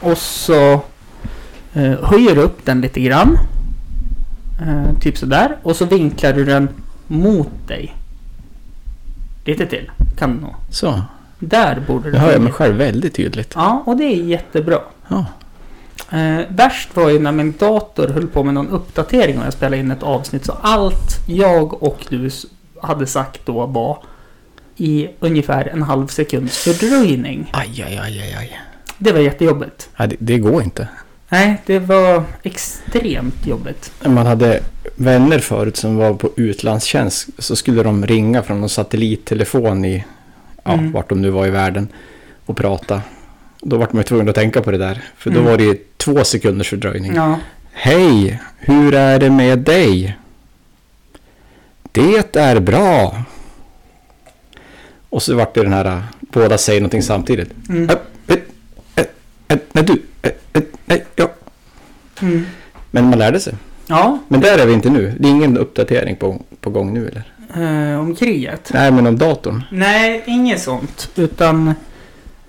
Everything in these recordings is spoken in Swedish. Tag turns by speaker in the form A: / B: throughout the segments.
A: Och så eh, höjer du upp den lite grann. Eh, typ sådär. Och så vinklar du den mot dig. Lite till. Kan du nog.
B: Så,
A: Där borde du
B: det hör
A: höja
B: jag mig
A: upp.
B: själv väldigt tydligt.
A: Ja, och det är jättebra.
B: Ja,
A: Eh, värst var ju när min dator höll på med någon uppdatering och jag spelade in ett avsnitt. Så allt jag och du s- hade sagt då var i ungefär en halv sekunds fördröjning.
B: aj, aj, aj, aj, aj.
A: Det var jättejobbigt.
B: Ja, det, det går inte.
A: Nej, det var extremt jobbigt.
B: man hade vänner förut som var på utlandstjänst så skulle de ringa från någon satellittelefon i, ja,
A: Mm.
B: vart de nu var i världen och prata. Då var man ju tvungen att tänka på det där, för då
A: Mm.
B: var det ju två sekunders fördröjning.
A: Ja,
B: Hej, hur är det med dig? Det är bra. Och så vart det den här, äh, båda säger någonting samtidigt.
A: Mm.
B: Äh, äh, äh, äh, Nej, du, äh, äh, nej, ja.
A: mm.
B: Men man lärde sig.
A: ja
B: Men där är vi inte nu. Det är ingen uppdatering på, på gång nu eller?
A: eh, om kriget.
B: Nej, men om datorn.
A: Nej, inget sånt. Utan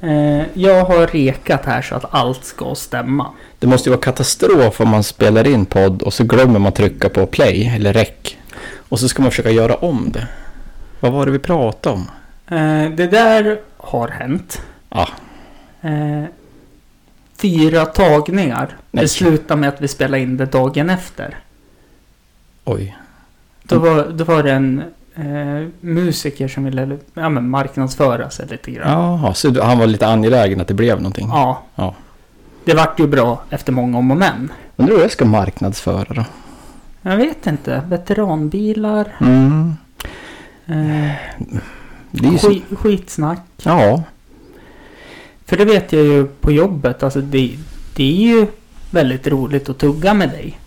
A: eh, jag har rekat här så att allt ska stämma.
B: Det måste ju vara katastrof om man spelar in podd och så glömmer man trycka på play eller rec. Och så ska man försöka göra om det. Vad var det vi pratade om? Ah,
A: Eh, det där har hänt.
B: Ja,
A: Eh, fyra tagningar.
B: Nej.
A: Det slutade med att vi spelade in det dagen efter.
B: oj.
A: Då
B: Mm.
A: var, då var det en eh, musiker som ville ja, men marknadsföra sig lite grann.
B: Jaha, så du- han var lite angelägen att det blev någonting.
A: Ja.
B: Ja.
A: Det vart ju bra efter många om och men.
B: Undrar hur jag ska marknadsföra då?
A: Jag vet inte. Veteranbilar.
B: Mm.
A: Eh,
B: Det är ju så...
A: skit, skitsnack.
B: Ja,
A: För det vet jag ju på jobbet. Alltså det, det är ju väldigt roligt att tugga med dig.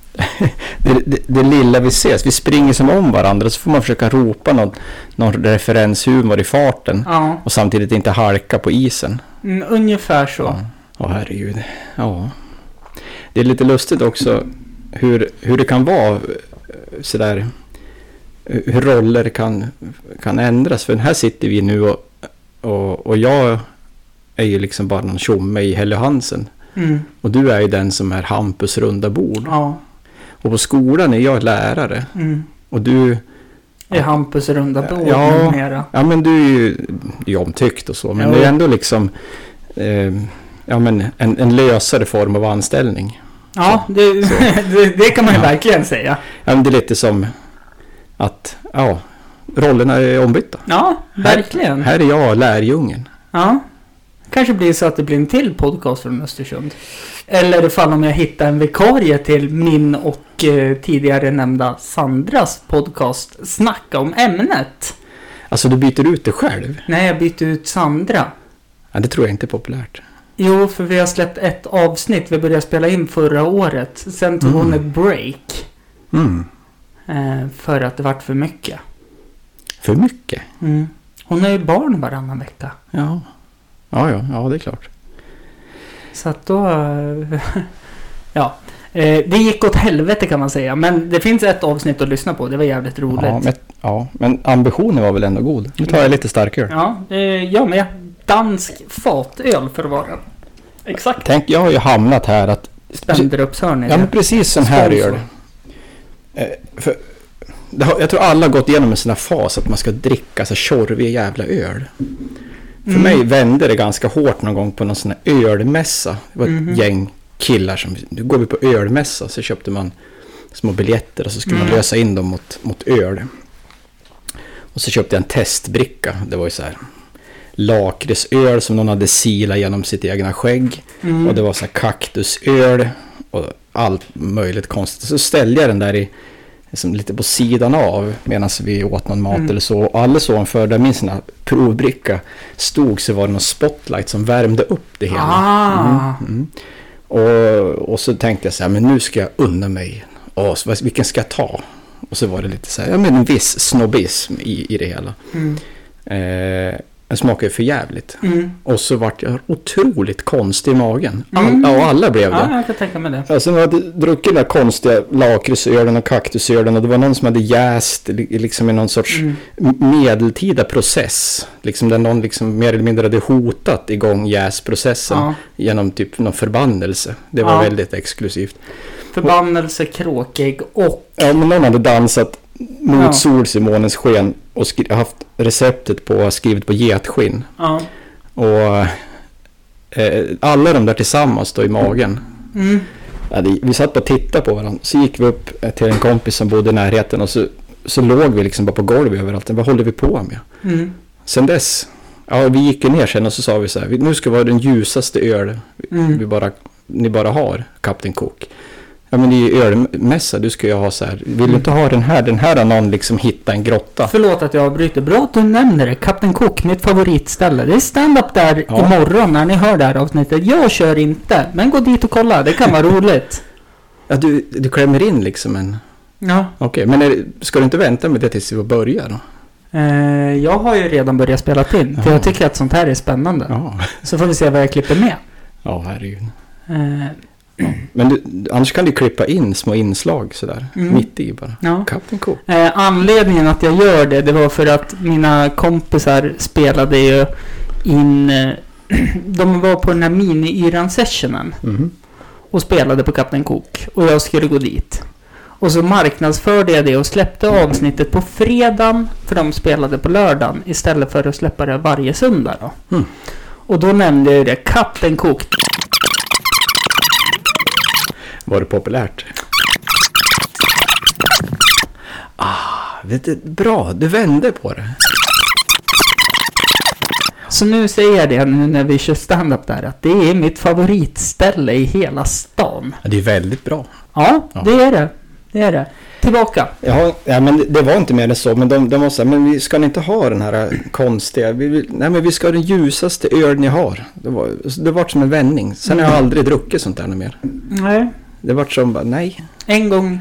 B: det, det, det lilla vi ses. Vi springer som om varandra så får man försöka ropa någon, någon referenshumor i farten.
A: Ja.
B: Och samtidigt inte halka på isen.
A: Mm, ungefär så.
B: Ja, herregud. Ja. Det är lite lustigt också hur, hur det kan vara eh, sådär. eh, Hur roller kan, kan ändras. För här sitter vi nu och, och, och jag är ju liksom bara någon tjomme i Helly Hansen.
A: Mm,
B: Och du är ju den som är Hampus runda bord.
A: ja.
B: Och på skolan är jag lärare.
A: Mm.
B: Och du,
A: Det är Hampus runda bord
B: Ja.
A: numera.
B: ja men du är ju du är omtyckt och så. Men
A: Jo.
B: det är ändå liksom eh, ja, men en, en lösare form av anställning.
A: Ja, det, det, det kan man ju verkligen säga.
B: Ja, men det är lite som att, ja, rollerna är ombytta.
A: Ja, verkligen.
B: Här är jag lärjungen.
A: Ja. Kanske blir det så att det blir en till podcast från Östersund. Eller ifall om jag hittar en vikarie till min och eh, tidigare nämnda Sandras podcast Snacka om ämnet.
B: Alltså du byter ut dig själv.
A: Nej, jag bytte ut Sandra.
B: Ja, det tror jag inte är populärt.
A: Jo, för vi har släppt ett avsnitt. Vi började spela in förra året. Sen tog hon ett break.
B: Mm.
A: Eh, för att det vart för mycket.
B: För mycket.
A: Mm. Hon har ju barn varannan vecka.
B: Ja. Ja, ja, ja, det är klart.
A: Så att då... eh, ja. Eh, det gick åt helvete kan man säga. Men det finns ett avsnitt att lyssna på. Det var jävligt roligt. Ja,
B: Ja men, ja, men ambitionen var väl ändå god. Nu tar jag lite starkare.
A: eh, jag med. Dansk fatöl för att vara Exakt.
B: Tänk, jag har ju hamnat här att...
A: Spänderupshörn är
B: Ja, men
A: det.
B: precis som här
A: Sponsor.
B: gör det. Eh, för, det har, jag tror alla har gått igenom en sån här fas att man ska dricka så tjorvig jävla öl. För
A: Mm.
B: mig vände det ganska hårt någon gång på någon sån här ölmässa. Det var ett
A: Mhm.
B: gäng killar som, nu går vi på ölmässa, så köpte man små biljetter och så skulle
A: Mm.
B: man lösa in dem mot, mot öl. Och så köpte jag en testbricka, det var ju så här lakritsöl som någon hade silat genom sitt egna skägg.
A: Mm.
B: Och det var så här kaktusöl och allt möjligt konstigt. Så ställde jag den där i, liksom lite på sidan av medan vi åt någon mat
A: Mm.
B: eller så. Och alldeles ovanför, där min sån här provbricka stod, så var det någon spotlight som värmde upp det hela.
A: Ah.
B: Mm. Och, och så tänkte jag så här, men nu ska jag unna mig. Åh, så vad- vilken ska jag ta? Och så var det lite så här, ja men en viss snobbism i, i det hela.
A: Mm.
B: Eh, Den smakar ju för jävligt.
A: Mm.
B: Och så vart jag otroligt konstig i magen. All,
A: Mm.
B: Ja, alla blev det.
A: Ja, jag kan tänka mig det.
B: Alltså de hade druckit den där konstiga lakritsölen och kaktusölen och det var någon som hade jäst li- liksom i någon sorts
A: Mm.
B: m- medeltida process. Liksom där någon liksom mer eller mindre hade hotat igång jäsprocessen
A: Ja.
B: genom typ någon förbannelse. Det var
A: Ja.
B: väldigt exklusivt.
A: Förbannelse, kråkägg och...
B: Ja, men någon hade dansat mot
A: Ja.
B: sols i månens sken och skri- haft receptet på skrivet på getskinn.
A: Ja.
B: Och eh, alla de där tillsammans då i magen.
A: Mm.
B: Ja, det, vi satt bara och tittade på varandra. Så gick vi upp eh, till en kompis som bodde i närheten och så, så låg vi liksom bara på golvet överallt. Vad håller vi på med?
A: Mm.
B: Sen dess, ja vi gick ju ner sen och så sa vi så här, "Vi- nu ska vi ha den ljusaste öl vi
A: Mm.
B: bara, ni bara har, Captain Cook. Ja men det är ju ölmässa, du ska ju ha så här, vill du inte ha den här? Den här har någon liksom hittat en grotta.
A: Förlåt att jag avbryter. Bra att du nämner det. Kapten Cook, mitt favoritställe. Det är stand-up där
B: Ja.
A: imorgon när ni hör det här avsnittet. Jag kör inte, men gå dit och kolla. Det kan vara roligt.
B: Ja, du, du klämmer in liksom en,
A: Ja.
B: okej, men är, det- ska du inte vänta med det tills vi börjar då?
A: Eh, jag har ju redan börjat spela in, för
B: Ja.
A: jag tycker att sånt här är spännande.
B: Ja,
A: Så får vi se vad jag klipper med.
B: ja herregud.
A: Eh,
B: Men du, annars kan du klippa in små inslag sådär,
A: Mm.
B: mitt i bara.
A: ja.
B: Captain Cook.
A: Eh, anledningen att jag gör det, det var för att mina kompisar spelade ju in... Eh, de var på den här mini-yran-sessionen
B: Mhm.
A: och spelade på Kapten Cook. Och jag skulle gå dit. Och så marknadsförde jag det och släppte avsnittet på fredagen, för de spelade på lördagen, istället för att släppa det varje söndag då.
B: Mm.
A: Och då nämnde jag ju det, Kapten Cook,
B: Var det populärt? Ah, vet du, bra, du vände på det.
A: Så nu säger jag det nu när vi kör stand-up där att det är mitt favoritställe i hela stan.
B: Ja, det är väldigt bra.
A: Ja,
B: Ja.
A: det är det. Det är det. Tillbaka.
B: Jaha, ja, men det- det var inte mer än så. Men de, de var så här, men vi ska ni inte ha den här äh, konstiga? Vi, vill- nej, men vi ska ha den ljusaste öl ni har. Det var, det var som en vändning. Sen har jag aldrig druckit sånt där något mer.
A: Nej.
B: Det var som, bara, nej.
A: En gång.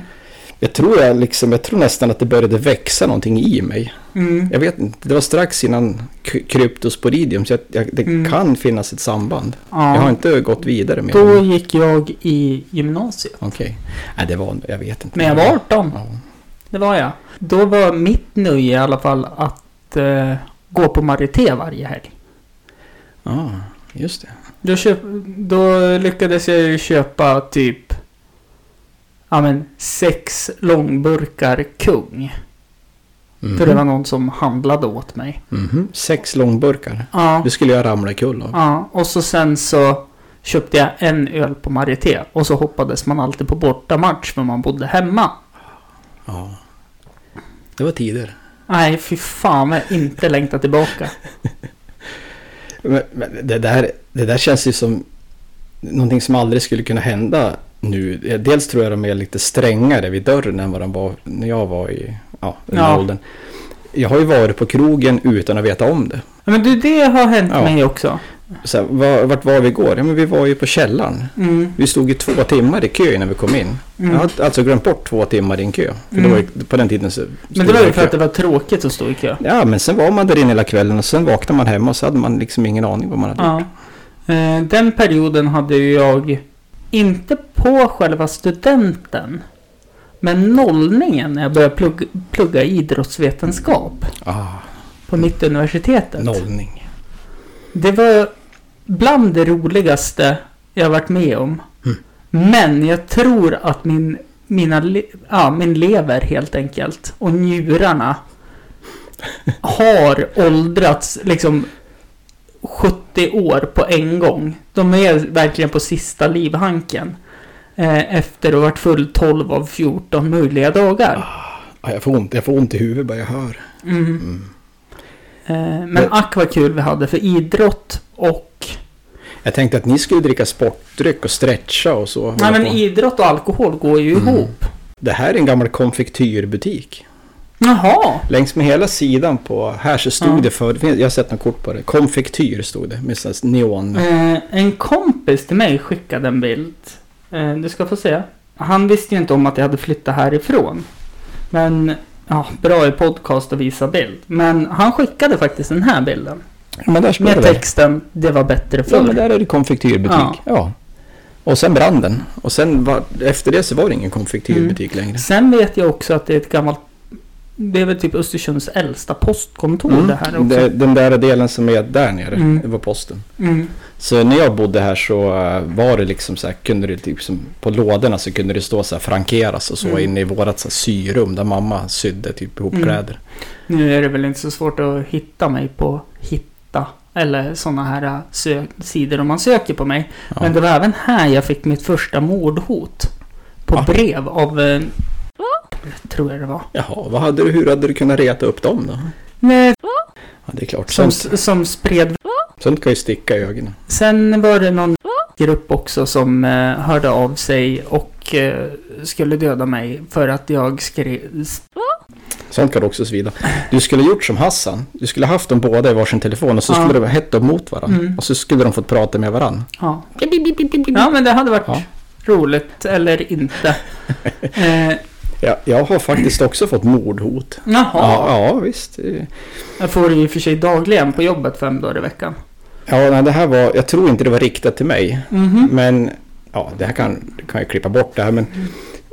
B: Jag tror, jag, liksom, jag tror nästan att det började växa någonting i mig.
A: Mm.
B: Jag vet inte, det var strax innan k- kryptosporidium. Så jag, jag, det
A: Mm.
B: kan finnas ett samband. Jag har
A: Ja.
B: inte gått vidare med
A: Då
B: det.
A: gick jag i gymnasiet.
B: Okej. Nej, det var, jag vet inte.
A: Men jag var 18.
B: Mm. Ja.
A: Det var jag. Då var mitt nöje i alla fall att eh, gå på Marité varje helg.
B: Ja, just det.
A: Då, köp, då lyckades jag ju köpa typ... Ja men sex långburkar kung.
B: Mm.
A: För det var någon som handlade åt mig.
B: Mhm. Sex långburkar.
A: Ja,
B: Det skulle jag ramla kul av.
A: ja, och så sen så köpte jag en öl på Marieté och så hoppades man alltid på bortamatch för man bodde hemma.
B: Ja. Det var tider.
A: Nej, fy fan vad jag inte längtat tillbaka.
B: Men, men det, där, det där känns ju som någonting som aldrig skulle kunna hända nu. Dels tror jag de är lite strängare vid dörren än vad de var när jag var i ja, den här
A: Ja.
B: åldern. Jag har ju varit på krogen utan att veta om det.
A: Ja, Men du, det har hänt
B: Ja.
A: mig också.
B: Så här, var, vart var vi igår? Ja, men vi var ju på källaren.
A: Mm,
B: Vi stod i två timmar i kö innan vi kom in.
A: mm.
B: Jag har alltså glömt bort två timmar i en kö. För
A: Mm.
B: det var ju, på den tiden så...
A: Men det var Mm. ju för att det var tråkigt att stå i kö.
B: Ja, men sen var man där inne hela kvällen och sen vaknade man hemma och så hade man liksom ingen aning vad man hade
A: Ja.
B: gjort.
A: Eh, Den perioden hade ju jag inte på själva studenten. Men nollningen när jag började plugga, plugga idrottsvetenskap
B: Ah,
A: på Mittuniversitetet.
B: nollning.
A: Det var bland det roligaste jag varit med om.
B: Mm.
A: Men jag tror att min, mina, le- ja, min lever helt enkelt och njurarna har åldrats liksom 70 år på en gång. De är verkligen på sista livhanken. Eh, efter att ha varit full 12 av 14 möjliga dagar.
B: Ah, jag, får ont, jag får ont i huvudet bara jag hör.
A: Mm.
B: Mm.
A: Eh, men
B: Men-
A: ack vad kul vi hade för idrott och
B: Jag tänkte att ni skulle dricka sportdryck och stretcha och så.
A: Nej
B: hålla
A: men
B: på. Mm.
A: idrott och alkohol går ju ihop.
B: Det här är en gammal konfektyrbutik.
A: Jaha!
B: Längs med hela sidan på här så stod
A: Ja.
B: det för... det finns- Jag har sett något kort på det. Konfektyr stod det med sån här neon.
A: Eh, en kompis till mig skickade en bild. Eh, du ska få se. Han visste ju inte om att jag hade flyttat härifrån. Men, ja, bra i podcast att visa bild. Men han skickade faktiskt den här bilden.
B: Ja, men där står det
A: Med
B: väl.
A: texten Det var bättre
B: Ja, men
A: förr.
B: där är det konfektyrbutik.
A: Ja.
B: Ja. Och sen brann den. Och sen var, efter det så var det ingen konfektyrbutik
A: Mm.
B: längre.
A: Sen vet jag också att det är ett gammalt Det är väl typ Östersunds äldsta postkontor
B: Mm.
A: det här också.
B: Det- Den där delen som är där nere
A: Mm.
B: det var posten.
A: Mm.
B: Så när jag bodde här så eh, var det liksom så här, kunde det typ som på lådorna så kunde det stå så här frankeras och så
A: Mm.
B: inne i vårat så här, syrum där mamma sydde typ ihop
A: Mm.
B: kläder.
A: Nu är det väl inte så svårt att hitta mig på hitta. Eller sådana här äh, sö- sidor om man söker på mig.
B: Ja.
A: Men det var även här jag fick mitt första mordhot. På
B: Va?
A: brev av... eh, Tror jag det var.
B: Jaha, vad hade du, hur hade du kunnat reta upp dem då?
A: Nej,
B: Ja, det är klart.
A: som,
B: Sånt,
A: som spred
B: sånt kan ju sticka i ögonen.
A: Sen var det någon grupp också som eh, hörde av sig och eh, skulle döda mig för att jag skrev... s-
B: Sånt kan också svida. Du skulle gjort som Hassan. Du skulle haft dem båda i varsin telefon och så
A: Ja.
B: skulle de hett dem mot varandra.
A: Mm.
B: Och så skulle de fått prata med varandra.
A: Ja. ja, men det hade varit
B: Ja.
A: roligt eller inte. eh,
B: Ja, jag har faktiskt också fått mordhot.
A: jaha,
B: Ja, ja visst. Eh,
A: jag får det i och för sig dagligen på jobbet fem dagar i veckan.
B: Ja, nej, det här var, jag tror inte det var riktat till mig.
A: Mhm.
B: Men, ja, det här kan, det kan jag klippa bort det här. Men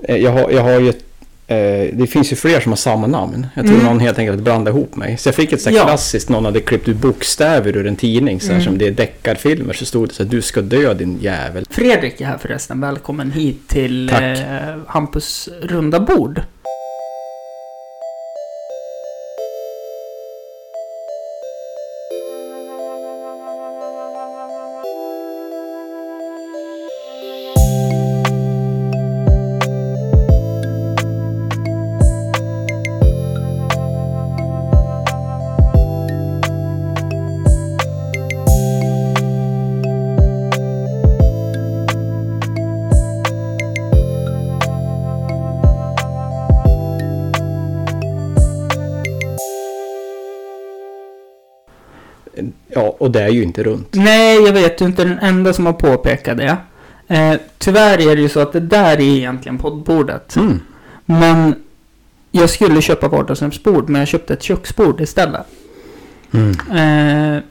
B: eh, jag har, jag har ju, ett- eh, det finns ju fler som har samma namn. Jag tror
A: Mm.
B: någon helt enkelt blandade ihop mig. Så jag fick ett så här
A: Ja.
B: klassiskt, någon hade klippt ut bokstäver ur en tidning. Så här,
A: Mm.
B: Som det är deckarfilmer så stod det så här, du ska dö din jävel.
A: Fredrik är här förresten, välkommen hit till
B: Tack.
A: eh, Hampus runda bord.
B: Ja, och det är ju inte runt.
A: Nej, jag vet. Du är inte den enda som har påpekat det. Eh, tyvärr är det ju så att det där är egentligen poddbordet.
B: Mm.
A: Men jag skulle köpa vardagsrumsbord, men jag köpte ett köksbord istället.
B: Mm.
A: Eh,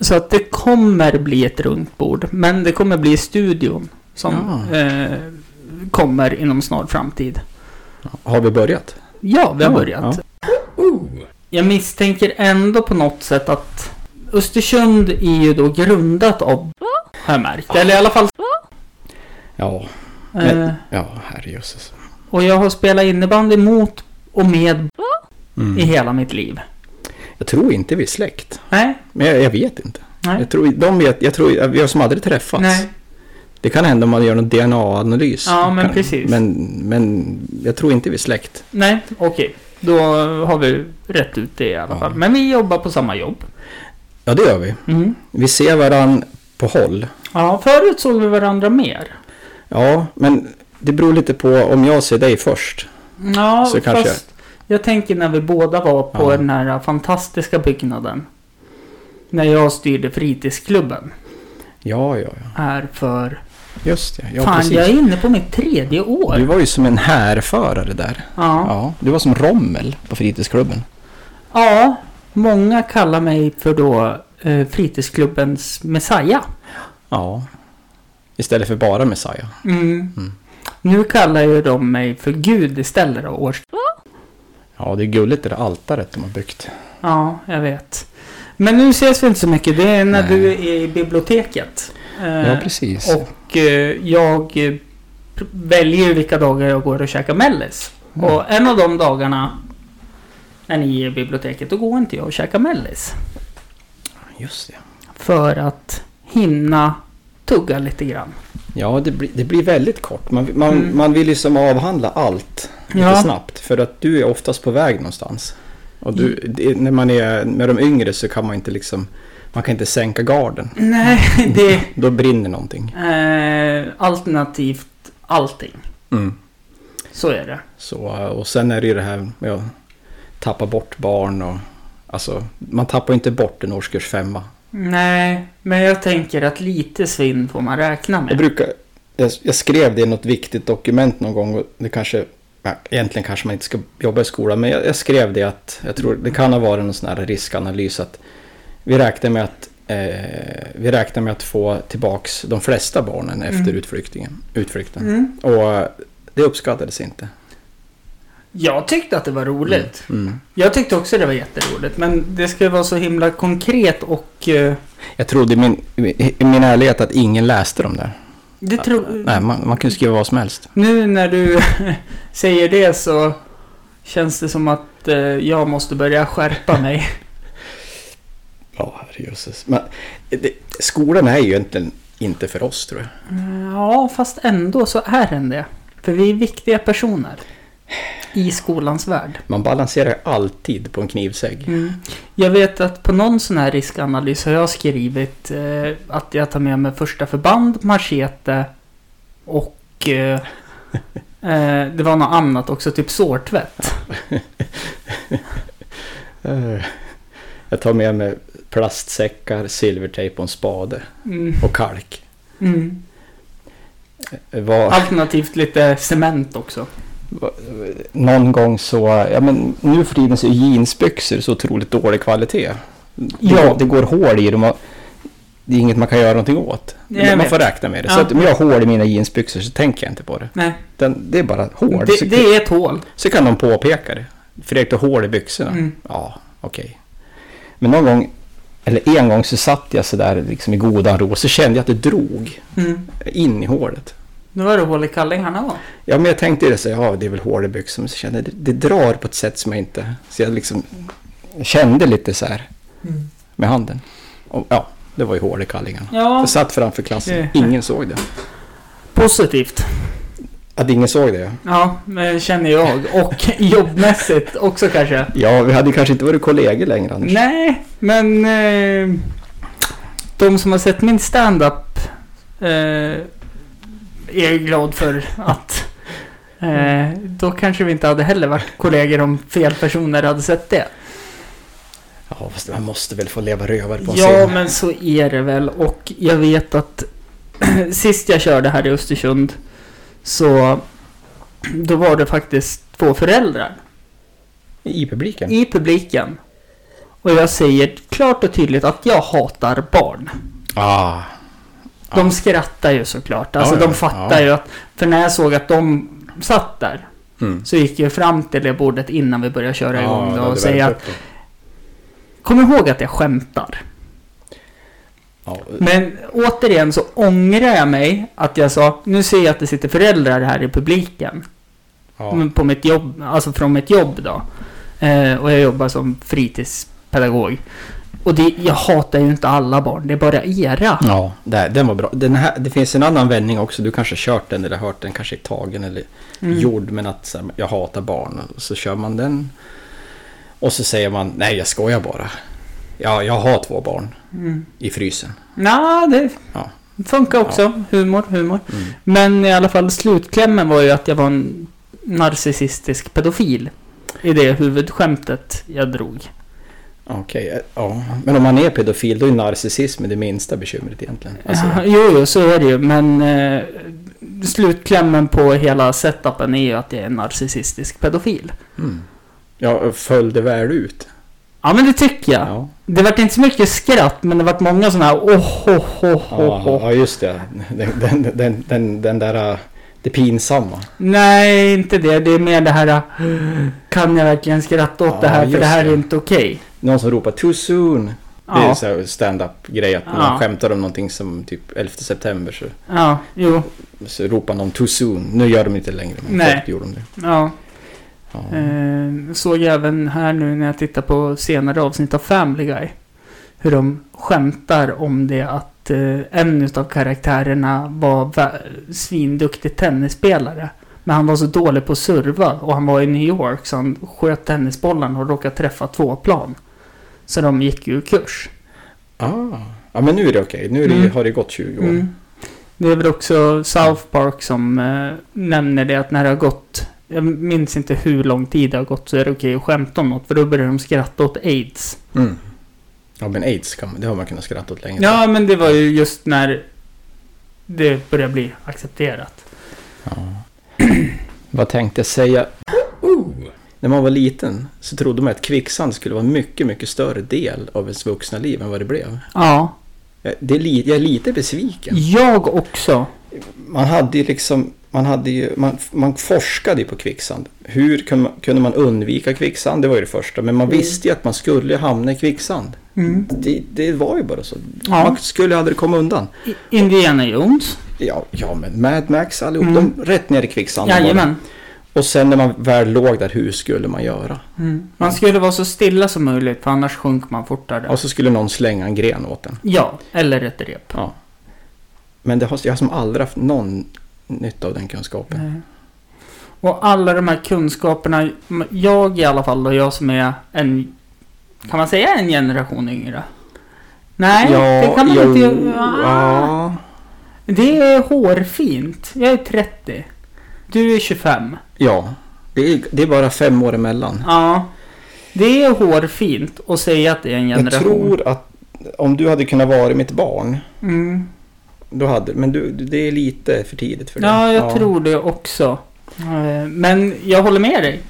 A: så att det kommer bli ett runt bord, men det kommer bli studion som
B: Ja.
A: eh, kommer inom snar framtid.
B: Har vi börjat?
A: Ja, vi har
B: Ja,
A: börjat. Jag misstänker ändå på något sätt att Östersund är ju då grundat av, har jag märkt. Eller i alla fall...
B: Ja, Men-
A: Eh,
B: ja herrejösses.
A: och jag har spelat innebandy mot och med i
B: Mm.
A: hela mitt liv.
B: Jag tror inte vi är släkt.
A: Nej,
B: Men jag, jag vet inte.
A: nej,
B: Jag tror, de vet, jag tror, vi har som aldrig träffats.
A: nej.
B: Det kan hända om man gör någon DNA-analys.
A: Ja, men
B: Kan-
A: precis.
B: Men, men jag tror inte vi är släkt.
A: Nej, okej. Då har vi rätt ut det i alla
B: Ja.
A: fall. Men vi jobbar på samma jobb.
B: Ja, det gör vi.
A: Mm.
B: Vi ser varann på håll.
A: Ja, förut såg vi varandra mer.
B: Ja, men det beror lite på om jag ser dig först.
A: Ja,
B: Så kanske
A: fast jag tänker när vi båda var på
B: Ja.
A: den här äh, fantastiska byggnaden. När jag styrde fritidsklubben.
B: Ja, ja, ja.
A: Här för...
B: Just det. Ja,
A: fan,
B: precis.
A: jag är inne på mitt tredje år.
B: Du var ju som en härförare där.
A: Ja.
B: Ja, du var som Rommel på fritidsklubben.
A: ja, många kallar mig för då eh, fritidsklubbens Messiah.
B: Ja. Istället för bara Messiah.
A: Mm.
B: Mm.
A: Nu kallar ju de mig för Gud istället då, års...
B: Ja, det är gulligt det där altaret de har byggt.
A: Ja, jag vet. Men nu ses vi inte så mycket. Det är när
B: Nej.
A: du är i biblioteket. Eh,
B: Ja, precis.
A: och eh, jag eh, pr- väljer ju vilka dagar jag går och käkar mellis.
B: Mm.
A: Och en av de dagarna när ni är i biblioteket, då går inte jag och käkar mellis.
B: Just det.
A: För att hinna tugga lite grann.
B: Ja, det blir, det blir väldigt kort. Man, man,
A: Mm.
B: man vill ju som avhandla allt lite
A: Ja.
B: snabbt. För att du är oftast på väg någonstans. Och du,
A: Mm.
B: det, när man är med de yngre så kan man inte liksom... Man kan inte sänka garden.
A: Nej, det...
B: Då brinner någonting.
A: Eh, alternativt allting. Mm. Så är det.
B: Så, och sen är det ju det här med att tappa bort barn och... Alltså, man tappar ju inte bort en årskurs femma.
A: Nej, men jag tänker att lite svinn får man räkna med.
B: Jag brukar... Jag, jag skrev det i något viktigt dokument någon gång och det kanske... Ja, egentligen kanske man inte ska jobba i skolan men jag, jag skrev det att... Jag tror det kan ha varit någon sån här riskanalys att... Vi räknar med att, eh, vi räknar med att få tillbaks de flesta barnen efter
A: Mm.
B: utflyktingen, utflykten.
A: Mm.
B: Och eh, det uppskattades inte.
A: Jag tyckte att det var roligt.
B: Mm.
A: Jag tyckte också det var jätteroligt. Men det ska ju vara så himla konkret och... eh,
B: Jag trodde i min, i min ärlighet att ingen läste dem där.
A: Det tror...
B: Nej, man, man kunde skriva vad som helst.
A: Nu när du säger det så känns det som att eh, jag måste börja skärpa mig.
B: Ja, herrejösses. Men det, skolan är ju egentligen inte för oss tror jag.
A: Mm, Ja, fast ändå så är den det. För vi är viktiga personer. I skolans värld.
B: Man balanserar alltid på en knivsägg.
A: Mm. Jag vet att på någon sån här riskanalys har jag skrivit eh, att jag tar med mig första förband, machete och... Eh, eh, det var något annat också, typ sårtvätt.
B: Eh, Jag tar med mig plastsäckar, silvertejp och en spade.
A: Mm.
B: Och kalk.
A: Mm.
B: Var,
A: Ah. Alternativt lite cement också.
B: var, någon gång så, ja men nu för tiden så är jeansbyxor så otroligt dålig kvalitet.
A: Ja.
B: Ja. Det går hål i dem och det är inget man kan göra någonting åt.
A: Nej, jag
B: man
A: vet.
B: får räkna med det.
A: Ja.
B: Så att om jag har hål i mina jeansbyxor så tänker jag inte på det.
A: Nej,
B: Den, det är bara hål. så,
A: det, det är ett hål.
B: så kan de påpeka det. Fredrik, du har hål i byxorna.
A: Mm.
B: Ja, okej. Men någon gång, eller en gång så satt jag sådär liksom i godan ro så kände jag att det drog
A: Mm.
B: in i hålet.
A: Nu var det hål i kallingarna va?
B: Ja, men jag tänkte det så, ja det är väl hål i byxorna. Men så kände jag, det, det drar på ett sätt som jag inte... Så jag liksom kände lite så här
A: Mm.
B: med handen. Och, ja, det var ju hål i kallingarna.
A: Ja,
B: Jag satt framför klassen,
A: Det-
B: ingen såg det.
A: positivt.
B: Att ingen såg det, ja.
A: Ja, men det känner jag. Och jobbmässigt också kanske.
B: Ja, vi hade kanske inte varit kollegor längre,
A: Mm.
B: Anders.
A: Nej, men eh, de som har sett min stand-up eh, är jag glad för att eh, då kanske vi inte hade heller varit kollegor om fel personer hade sett det.
B: Ja, fast man måste väl få leva rövare på en
A: Ja,
B: scen.
A: men så är det väl. Och jag vet att sist jag körde här i Östersund så då var det faktiskt två föräldrar
B: I publiken.
A: i publiken. Och jag säger klart och tydligt att jag hatar barn.
B: Ah.
A: De skrattar ju såklart. Alltså
B: Ja, ja,
A: de fattar
B: ja.
A: ju att... För när jag såg att de satt där
B: Mm.
A: så gick jag fram till det bordet innan vi började köra igång det och säga att
B: att...
A: Kom ihåg att jag skämtar.
B: Ja,
A: Men återigen så ångrar jag mig att jag sa Nu ser jag att det sitter föräldrar här i publiken.
B: ja.
A: Men På mitt jobb, alltså från mitt jobb då. Eh, och jag jobbar som fritidspedagog. Och det, jag hatar ju inte alla barn, det är bara era.
B: ja där, den var bra. Den här, det finns en annan vändning också. Du kanske har kört den eller hört den, kanske är tagen eller
A: Mm.
B: gjord. Men att så här, jag hatar barn. Och så kör man den. Och så säger man, nej jag skojar bara. Ja, jag har två barn
A: Mm.
B: i frysen.
A: Nja, det
B: Ja. Mm.
A: funkar också. Humor, humor. Men i alla fall slutklämmen var ju att jag var en narcissistisk pedofil. I det huvudskämtet jag drog.
B: Okej, eh, ja. Men om man är pedofil då är narcissism det minsta bekymret egentligen. Alltså,
A: Ja, jo, jo, så är det ju. Men eh, slutklämmen på hela setupen är ju att jag är en narcissistisk pedofil.
B: mm. Jag följde väl ut.
A: Ja, men det tycker jag.
B: Ja.
A: Det vart inte så mycket skratt, men det vart många sådana här oh, oh, oh, oh,
B: Ja,
A: oh.
B: ja, just det. Den, den, den, den, den där... eh, Det pinsamma.
A: Nej, inte det. Det är mer det här... eh, Kan jag verkligen skratta åt
B: Ja,
A: det här? För
B: just
A: det här är
B: det.
A: inte okej.
B: Någon som ropar too soon. Det
A: Ja.
B: är så här stand-up grej att när
A: Ja.
B: man skämtar om någonting som typ 11 september så,
A: Ja, jo.
B: så ropar någon too soon. Nu gör de inte längre men
A: Nej.
B: förut gjorde de det.
A: Ja.
B: Ja.
A: Eh, såg jag även här nu när jag tittar på senare avsnitt av Family Guy. Hur de skämtar om det att eh, en utav karaktärerna var vä- svinduktig tennisspelare. Men han var så dålig på att serva och han var i New York så han sköt tennisbollen och råkade träffa två plan. Så de gick ju kurs.
B: Ah. ja, men nu är det okej. Nu är det,
A: Mm.
B: har det gått 20 år.
A: Mm. Det är väl också South Park som eh, nämner det att när det har gått jag minns inte hur lång tid det har gått så är det okej att skämta om något för då börjar de skratta åt aids.
B: Mm. Ja, men aids kan man, det har man kunnat skratta åt länge.
A: Ja, men det var ju just när det började bli accepterat.
B: Vad tänkte jag säga? När man var liten så trodde man att kvicksand skulle vara en mycket, mycket större del av ens vuxna liv än vad det blev.
A: Ja,
B: Jag, det är li, jag är lite besviken.
A: jag också.
B: Man hade ju liksom, man hade ju, man, man forskade ju på kvicksand. Hur kunde man, kunde man undvika kvicksand? Det var ju det första. Men man
A: Mm.
B: visste ju att man skulle hamna i kvicksand.
A: Mm.
B: Det, det var ju bara så.
A: Ja.
B: Man skulle aldrig komma undan.
A: I- Indiana Jones.
B: Ja, ja men Mad Max allihop,
A: Mm.
B: de rätt ner i kvicksanden. var
A: Jajamän.
B: det. Och sen när man väl låg där, hur skulle man göra?
A: Mm. Man skulle vara så stilla som möjligt för annars sjönk man fortare.
B: Och så skulle någon slänga en gren åt en.
A: Ja, eller ett rep.
B: Ja. Men det har, jag har som aldrig haft någon nytta av den kunskapen.
A: Nej. Och alla de här kunskaperna, jag i alla fall och jag som är en, kan man säga en generation yngre? Nej, det kan man
B: jo,
A: inte. Ah,
B: Ja,
A: Det är hårfint. Jag är 30. Du är 25.
B: ja. Det, är, det är bara fem år emellan.
A: Ja. Det är hårfint att säga att det är en
B: Jag
A: generation.
B: tror att om du hade kunnat vara mitt barn,
A: Mm.
B: då hade Men du, det är lite för tidigt för det.
A: Ja, jag tror det också. Eh, Men jag håller med dig.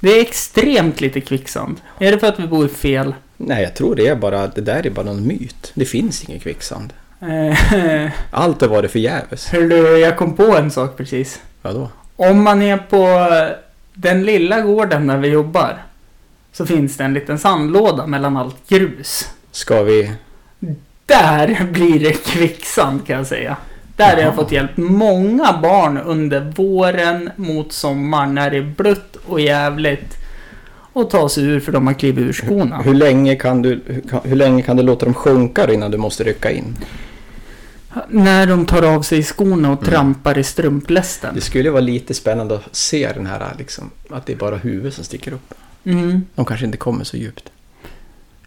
A: Det är extremt lite kvicksand. Är det för att vi bor fel?
B: Nej, jag tror det är bara, det där är bara någon myt. Det finns ingen kvicksand.
A: Eh,
B: Allt har varit förgäves.
A: Hörru, jag kom på en sak precis.
B: Vadå?
A: Om man är på eh, den lilla gården där vi jobbar så finns det en liten sandlåda mellan allt grus.
B: Ska vi...
A: Där blir det kvicksand kan jag säga. Där har jag
B: Jaha.
A: fått hjälp många barn under våren mot sommaren när det är blött och jävligt. Och ta sig ur för de har klivit ur skorna.
B: Hur länge kan du, hur, kan- hur länge kan du låta dem sjunka då innan du måste rycka in?
A: När de tar av sig skorna och
B: Mm.
A: trampar i strumplästen.
B: Det skulle vara lite spännande att se den här liksom, att det är bara huvudet som sticker upp.
A: Mm.
B: De kanske inte kommer så djupt.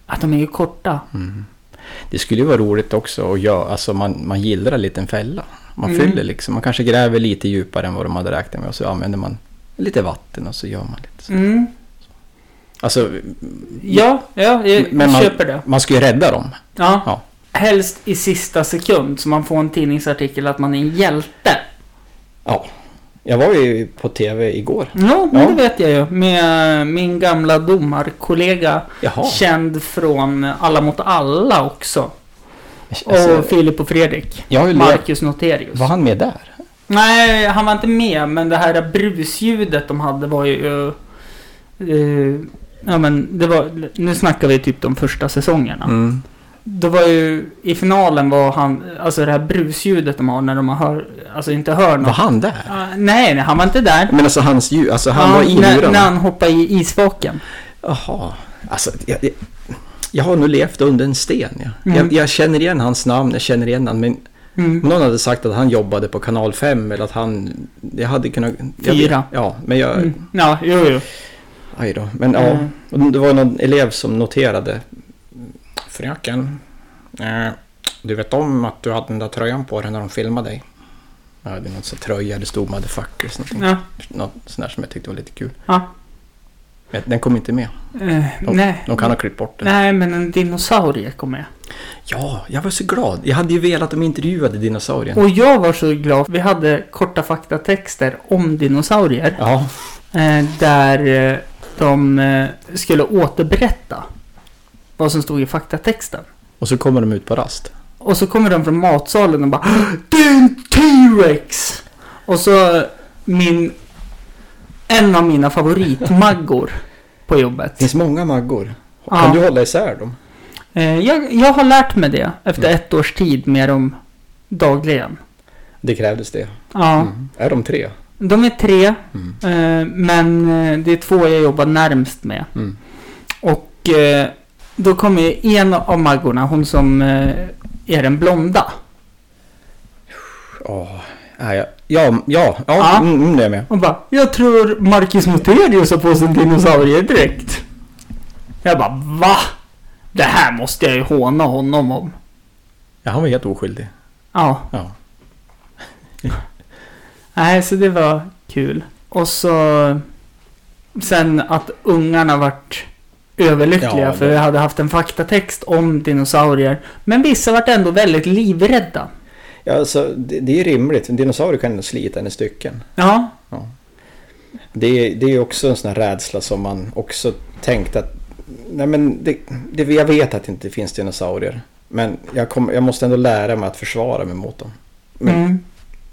A: Att de är ju korta.
B: Det skulle ju vara roligt också att göra, alltså man, man gillrar en liten fälla. Man
A: Mm.
B: fyller liksom, man kanske gräver lite djupare än vad de hade räknat med och så använder man lite vatten och så gör man lite så.
A: Mm.
B: Alltså,
A: Ja, ja, jag
B: Men man-
A: köper det.
B: man ska ju rädda dem.
A: Ja.
B: Ja.
A: Helst i sista sekund så man får en tidningsartikel att man är en hjälte.
B: Ja. Jag var ju på tv igår.
A: Ja, men
B: Ja.
A: det vet jag ju. Med eh, min gamla domarkollega.
B: Jaha.
A: Känd från Alla mot alla också.
B: Alltså,
A: och Filip och Fredrik.
B: jag har ju lekt-
A: Marcus Noterius.
B: Var han med där?
A: Nej, han var inte med, men det här brusljudet de hade var ju... eh, ja, men det var... Nu snackar vi typ de första säsongerna.
B: Mm.
A: Då var ju... I finalen var han... Alltså det här brusljudet de har när de hör... Alltså inte hör något.
B: Var han där?
A: Ah, nej, nej, han var inte där.
B: Men alltså hans ljud, alltså han var i
A: när, när
B: murarna?
A: han hoppade i isvaken.
B: Jaha. Alltså, jag, jag, jag har nog levt under en sten. Ja.
A: Mm.
B: Jag, jag känner igen hans namn, jag känner igen han, men
A: Mm.
B: någon hade sagt att han jobbade på kanal 5 eller att han... Jag hade kunnat... Jag,
A: Fyra.
B: Ja, men jag...
A: Mm. Ja, jo, jo.
B: Aj då. Men
A: Mm.
B: ja, och det var någon elev som noterade. Fröken, eh, du vet om att du hade den där tröjan på dig när de filmade dig? Jag hade någon sån tröja, det stod motherfuckers, någonting.
A: Ja.
B: något sånt där som jag tyckte var lite kul.
A: Ja.
B: Men den kom inte med.
A: Eh, nej.
B: De kan ha klippt bort den.
A: Nej, men en dinosaurie kom med.
B: Ja, jag var så glad. Jag hade ju velat att de intervjuade dinosaurien.
A: Och jag var så glad. Vi hade korta faktatexter om dinosaurier.
B: Ja,
A: Eh, där eh, de eh, skulle återberätta vad som stod i faktatexten.
B: och så kommer de ut på rast.
A: Och så kommer de från matsalen och bara Det är en T-Rex! Och så min... En av mina favoritmaggor på
B: Det
A: jobbet.
B: finns många maggor.
A: Ja.
B: Kan du hålla isär dem?
A: Eh, jag, jag har lärt mig det efter ett års tid med dem dagligen.
B: Det krävdes det.
A: Ja.
B: Mm. Är de tre?
A: De är tre,
B: Mm.
A: eh, men eh, det är två jag jobbar närmst med.
B: Mm.
A: Och eh, då kommer ju en av maggorna, hon som eh, är den blonda.
B: Åh, nej, ja, ja, ja, ja,
A: Ja.
B: Mm, mm, det är jag med.
A: Hon bara, jag tror Marcus Muterius har på sig en dinosauriedräkt. Jag bara, va? Det här måste jag ju håna honom om.
B: Ja, han var helt oskyldig.
A: Ja.
B: Ja.
A: Nej, så det var kul. Och så... Sen att ungarna vart överlyckliga
B: Ja,
A: för
B: det-
A: vi hade haft en faktatext om dinosaurier. Men vissa vart ändå väldigt livrädda.
B: Ja, alltså, det, det är rimligt. Dinosaurier kan ändå slita en i stycken.
A: Ja.
B: Ja. Det är, det är också en sån här rädsla som man också tänkt att... Nej men det, det, jag vet att det inte finns dinosaurier. Men jag, kom, jag måste ändå lära mig att försvara mig mot dem. Men
A: Mm.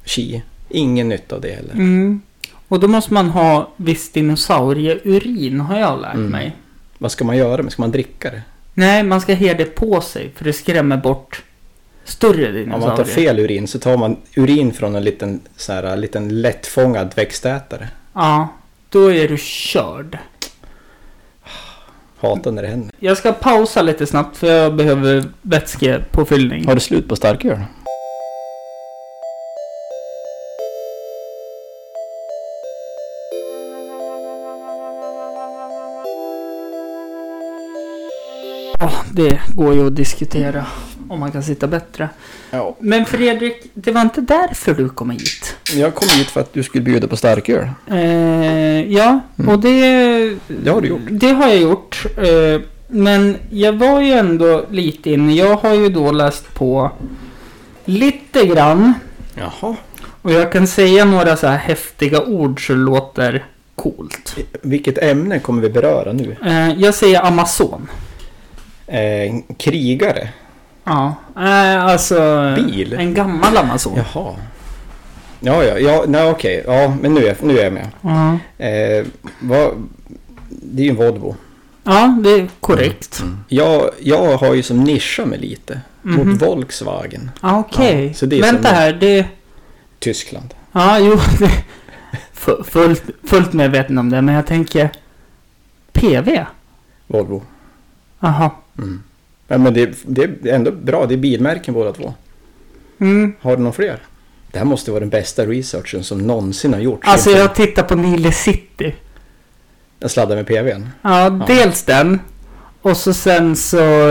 B: chi, ingen nytta av det heller.
A: Mm. Och då måste man ha viss dinosaurieurin har jag lärt
B: Mm.
A: mig.
B: Vad ska man göra? med- Ska man dricka det?
A: Nej, man ska ha det på sig för det skrämmer bort större
B: Om man tar
A: dinosaurier.
B: fel urin så tar man urin från en liten, så här, liten lättfångad växtätare.
A: Ja, då är du körd.
B: Hatar när det händer.
A: Jag ska pausa lite snabbt för jag behöver vätskepåfyllning.
B: du slut på starköl?
A: Ja, det går ju att diskutera om man kan sitta bättre.
B: Ja.
A: Men Fredrik, det var inte därför du kom hit.
B: Jag kom hit för att du skulle bjuda på starköl.
A: Eh, ja, och det...
B: Mm. Det har du gjort.
A: Det har jag gjort. Eh, men jag var ju ändå lite inne. Jag har ju då läst på lite grann.
B: Jaha.
A: Och jag kan säga några så här häftiga ord så det låter coolt.
B: Vilket ämne kommer vi beröra nu?
A: Eh, jag säger Amazon.
B: Eh, krigare?
A: Ja, eh, alltså...
B: Bil?
A: En gammal Amazon. Ja.
B: Jaha. Ja, ja, ja, nej okej. Ja, men nu är, nu är jag med. Eh, vad, det är ju en Volvo.
A: ja, det är korrekt.
B: Mm. Jag, jag har ju som nischat mig lite
A: Mhm.
B: mot Volkswagen,
A: Ah, Okej,
B: Ja, så det är
A: vänta
B: som-
A: här. Det...
B: Tyskland.
A: Ja, jo. Det... fu- Fullt, fullt medveten om det, men jag tänker... PV?
B: Volvo.
A: Jaha.
B: Ja, men det, det är ändå bra, det är bilmärken båda två.
A: Mm.
B: Har du någon fler? Det här måste vara den bästa researchen som någonsin har gjorts.
A: Alltså jag tittar på Nile City.
B: jag sladdar med PVn.
A: Ja, dels den. Och så sen så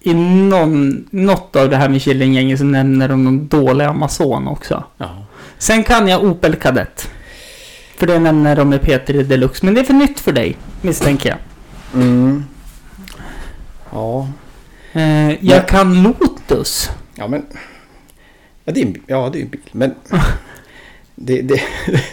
A: i någon, något av det här med Killinggänget så nämner de någon dålig Amazon också.
B: Ja.
A: Sen kan jag Opel Kadett. För det nämner de med Peter i Deluxe. Men det är för nytt för dig, misstänker jag.
B: Mm. Ja.
A: Eh, jag
B: Men-
A: kan Lotus.
B: Ja, men... Ja, det är en, bi- ja, det är en bil, men... det, det,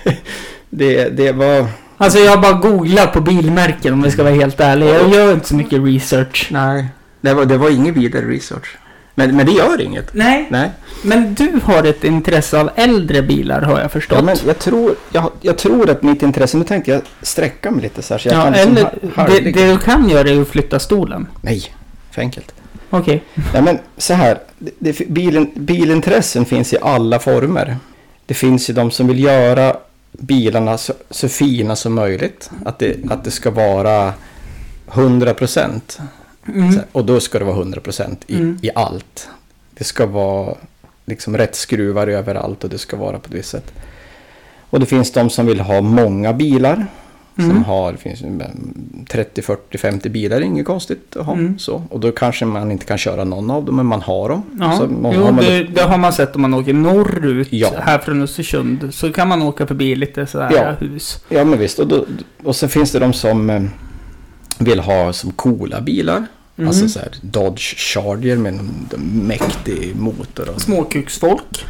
B: det, det var...
A: Alltså jag bara googlar på bilmärken om vi ska vara helt ärliga. Jag gör inte så mycket research.
B: Nej. Det var, det var ingen vidare research. Men, men det gör inget.
A: Nej,
B: Nej.
A: men du har ett intresse av äldre bilar har jag förstått.
B: Ja, men jag, tror, jag, jag tror att mitt intresse... Nu tänkte jag sträcka mig lite så här. Så jag
A: Ja,
B: kan liksom
A: eller
B: ha-
A: det,
B: halvligga.
A: det du kan göra är ju att flytta stolen.
B: Nej, för enkelt.
A: Okej.
B: Nej men så här, det, det, bilen, bilintressen finns i alla former. Det finns ju de som vill göra bilarna så, så fina som möjligt. Att det, att det ska vara 100 procent.
A: Mm.
B: Och då ska det vara 100 procent i,
A: Mm.
B: i allt. Det ska vara liksom rätt skruvar överallt och det ska vara på ett visst sätt. Och det finns de som vill ha många bilar.
A: Mm.
B: Som har det finns ju, mm, 30, 40, 50 bilar, det är inget konstigt att ha.
A: Mm.
B: Så. Och då kanske man inte kan köra någon av dem, men man har dem.
A: Ja.
B: Så man,
A: jo,
B: har man
A: det, det har man sett om man åker norrut
B: Ja.
A: här från Östersund. Så kan man åka förbi lite sådär
B: Ja.
A: hus.
B: Ja, men visst. Och, då, och sen finns det de som eh, vill ha som coola bilar.
A: Mm.
B: Alltså så här Dodge Charger med en, en mäktig motor. Och,
A: Småkuksfolk.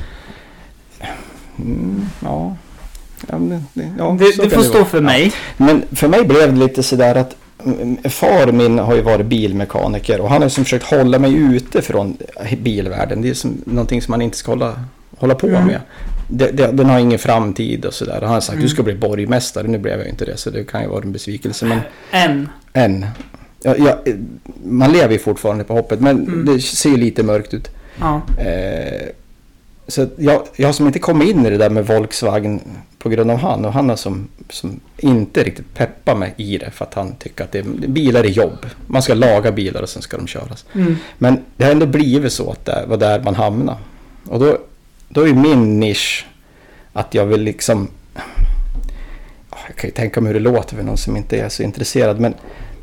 B: mm, ja. Ja, men, det, ja,
A: det
B: så
A: det
B: kan
A: får
B: vara.
A: stå för mig.
B: Men för mig blev det lite sådär att mm, far min har ju varit bilmekaniker och han har liksom försökt hålla mig ute från bilvärlden. Det är som någonting som man inte ska hålla, hålla på
A: Mm.
B: med. Det, det, den har ingen framtid och sådär. Han har sagt du ska bli borgmästare. Nu blev jag ju inte det så det kan ju vara en besvikelse. Men
A: En.
B: än. Ja, ja, eh, man lever ju fortfarande på hoppet men det ser ju lite mörkt ut.
A: Ja.
B: Eh, så att jag, jag har som inte kommit in i det där med Volkswagen på grund av han och han har som, som inte riktigt peppat mig i det för att han tycker att det, bilar är jobb. Man ska laga bilar och sen ska de köras.
A: Mm.
B: Men det har ändå blivit så att det var där man hamnade. Och då, då är min nisch att jag vill liksom... Ja, Jag kan ju tänka mig hur det låter för någon som inte är så intresserad. Men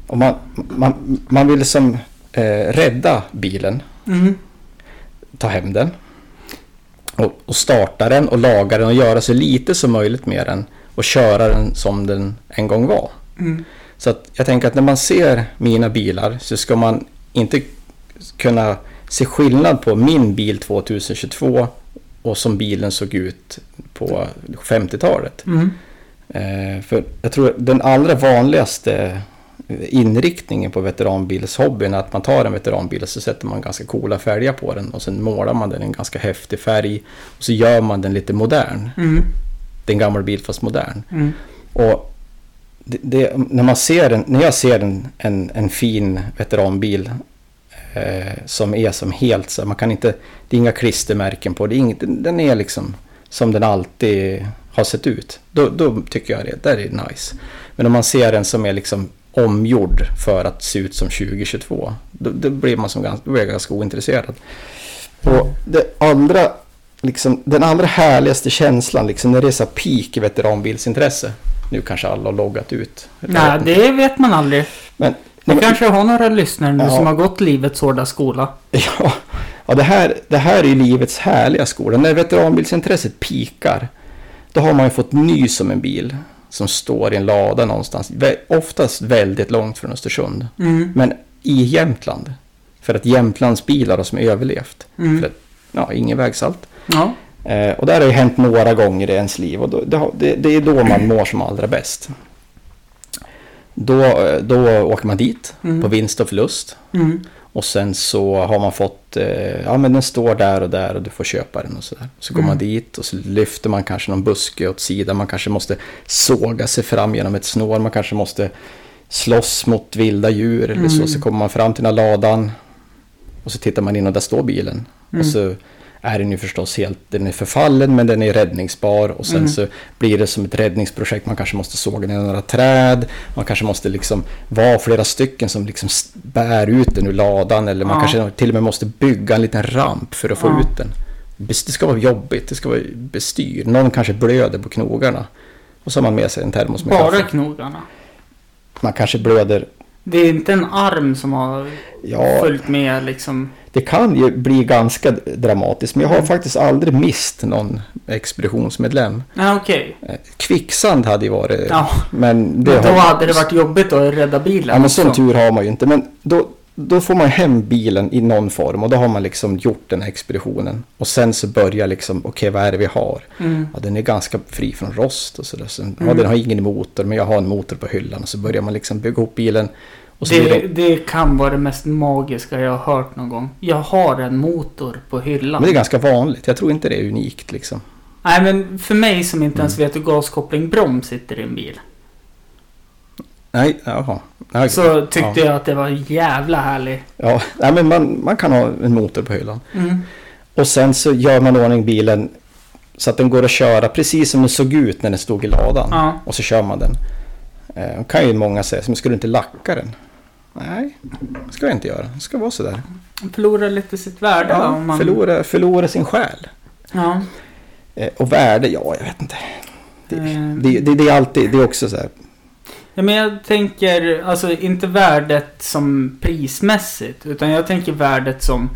B: om man, man, man vill liksom eh, rädda bilen,
A: Mm.
B: ta hem den. Och, och starta den och laga den och göra så lite som möjligt med den. Och köra den som den en gång var.
A: Mm.
B: Så att jag tänker att när man ser mina bilar så ska man inte kunna se skillnad på min bil 2022 och som bilen såg ut på 50-talet.
A: Mm.
B: Eh, för jag tror den allra vanligaste eh, inriktningen på veteranbilshobbyn är att man tar en veteranbil och så sätter man ganska coola färger på den och sen målar man den i en ganska häftig färg och så gör man den lite modern.
A: Mm.
B: Det är en gammal bil fast modern.
A: Mm.
B: Och det, det, när, man ser en, när jag ser en, en, en fin veteranbil eh, som är som helt så här, man kan inte, det är inga klistermärken på, det är inget, den den är liksom som den alltid har sett ut. Då, då tycker jag det, där är det nice. Men om man ser en som är liksom omgjord för att se ut som 2022, då, då blir man som ganska, då blir jag ganska ointresserad. Och det andra, liksom, den allra härligaste känslan, liksom, när det är så här peak i veteranbilsintresse, nu kanske alla har loggat ut.
A: Nej, det vet man aldrig.
B: Men,
A: Vi kanske har några lyssnare nu
B: Ja.
A: som har gått livets hårda skola.
B: Ja, ja det, här, det här är ju livets härliga skola. När veteranbilsintresset pikar, då har man ju fått ny som en bil som står i en lada någonstans. Vä- Oftast väldigt långt från Östersund,
A: Mm.
B: men i Jämtland. För att Jämtlands bilar har som överlevt.
A: Mm.
B: För att, ja, ingen vägsalt.
A: Ja.
B: Eh, och det här har ju hänt några gånger i ens liv och då, det, har- det, det är då man mår som allra bäst. Då, eh, då åker man dit
A: Mm.
B: på vinst och förlust.
A: Mm.
B: Och sen så har man fått, eh, ja men den står där och där och du får köpa den och sådär. Så går man dit och så lyfter man kanske någon buske åt sidan, man kanske måste såga sig fram genom ett snår, man kanske måste slåss mot vilda djur eller så. Så kommer man fram till den här ladan och så tittar man in och där står bilen.
A: Mm.
B: Och så är den ju förstås helt, den är förfallen men den är räddningsbar och
A: Mm.
B: sen så blir det som ett räddningsprojekt. Man kanske måste såga ner några träd, man kanske måste liksom vara flera stycken som liksom s- bär ut den ur ladan eller man
A: Ja.
B: kanske till och med måste bygga en liten ramp för att få
A: Ja.
B: ut den. Bes- Det ska vara jobbigt, det ska vara bestyr, någon kanske blöder på knogarna. Och så har man med sig en termos med
A: Bara
B: kaffe.
A: knogarna.
B: Man kanske blöder,
A: Det är inte en arm som har
B: ja,
A: följt med liksom.
B: Det kan ju bli ganska dramatiskt, men jag har faktiskt aldrig mist någon expeditionsmedlem.
A: Nej, okej.
B: Eh, Kvicksand hade ju varit...
A: Ja.
B: Men det
A: Men Då
B: har,
A: hade det varit jobbigt att rädda bilen.
B: Ja, men sån
A: också.
B: tur har man ju inte. Men då, då får man hem bilen i någon form och då har man liksom gjort den här expeditionen. Och sen så börjar liksom, okej vad är det vi har?
A: Mm.
B: Ja, den är ganska fri från rost och sådär. Sen, ja, den har ingen motor, men jag har en motor på hyllan. Och så börjar man liksom bygga ihop bilen. Och så blir
A: Det,
B: den-
A: det kan vara det mest magiska jag har hört någon gång. Jag har en motor på hyllan.
B: Men det är ganska vanligt, jag tror inte det är unikt liksom.
A: Nej men för mig som inte
B: Mm.
A: ens vet hur gaskoppling broms sitter i en bil.
B: Nej, jaha. Nej,
A: Så tyckte
B: ja.
A: jag att det var jävla härlig.
B: Ja, nej, men man, man kan ha en motor på hyllan.
A: Mm.
B: Och sen så gör man ordning bilen så att den går att köra precis som den såg ut när den stod i ladan.
A: Ja.
B: Och så kör man den. Eh, och kan ju många säga, men skulle du inte lacka den? Nej, det ska jag inte göra. Det ska vara sådär.
A: Man Förlorar lite sitt värde va,
B: Ja,
A: om man...
B: förlora, förlora sin själ.
A: Ja.
B: Eh, och värde, ja, jag vet inte. Det,
A: Mm.
B: det, det, det är alltid, det är också så här.
A: ja. men jag tänker, alltså inte värdet som prismässigt. Utan jag tänker värdet som...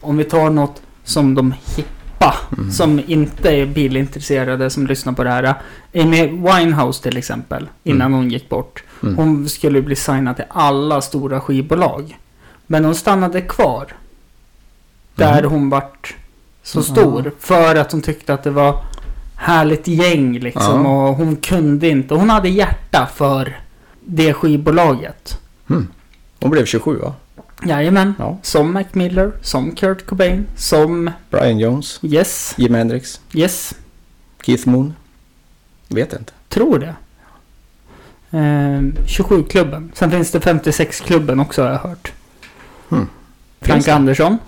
A: Om vi tar något som de hippa.
B: Mm.
A: Som inte är bilintresserade som lyssnar på det här. Amy Winehouse till exempel. Innan hon gick bort.
B: Mm.
A: Hon skulle bli signad till alla stora skivbolag. Men hon stannade kvar. Där
B: Mhm.
A: hon vart så stor. För att hon tyckte att det var härligt gäng liksom.
B: Ja.
A: Och hon kunde inte. Hon hade hjärta för det skivbolaget.
B: Hmm. Hon blev 27 va?
A: Jajamän.
B: Ja.
A: Som Mac Miller, som Kurt Cobain, som
B: Brian Jones,
A: Yes,
B: Jimi Hendrix,
A: Yes,
B: Keith Moon. Vet inte.
A: tror det. Ehm, 27-klubben. Sen finns det 56-klubben också har jag hört.
B: Hmm. Finns
A: Frank
B: det?
A: Andersson.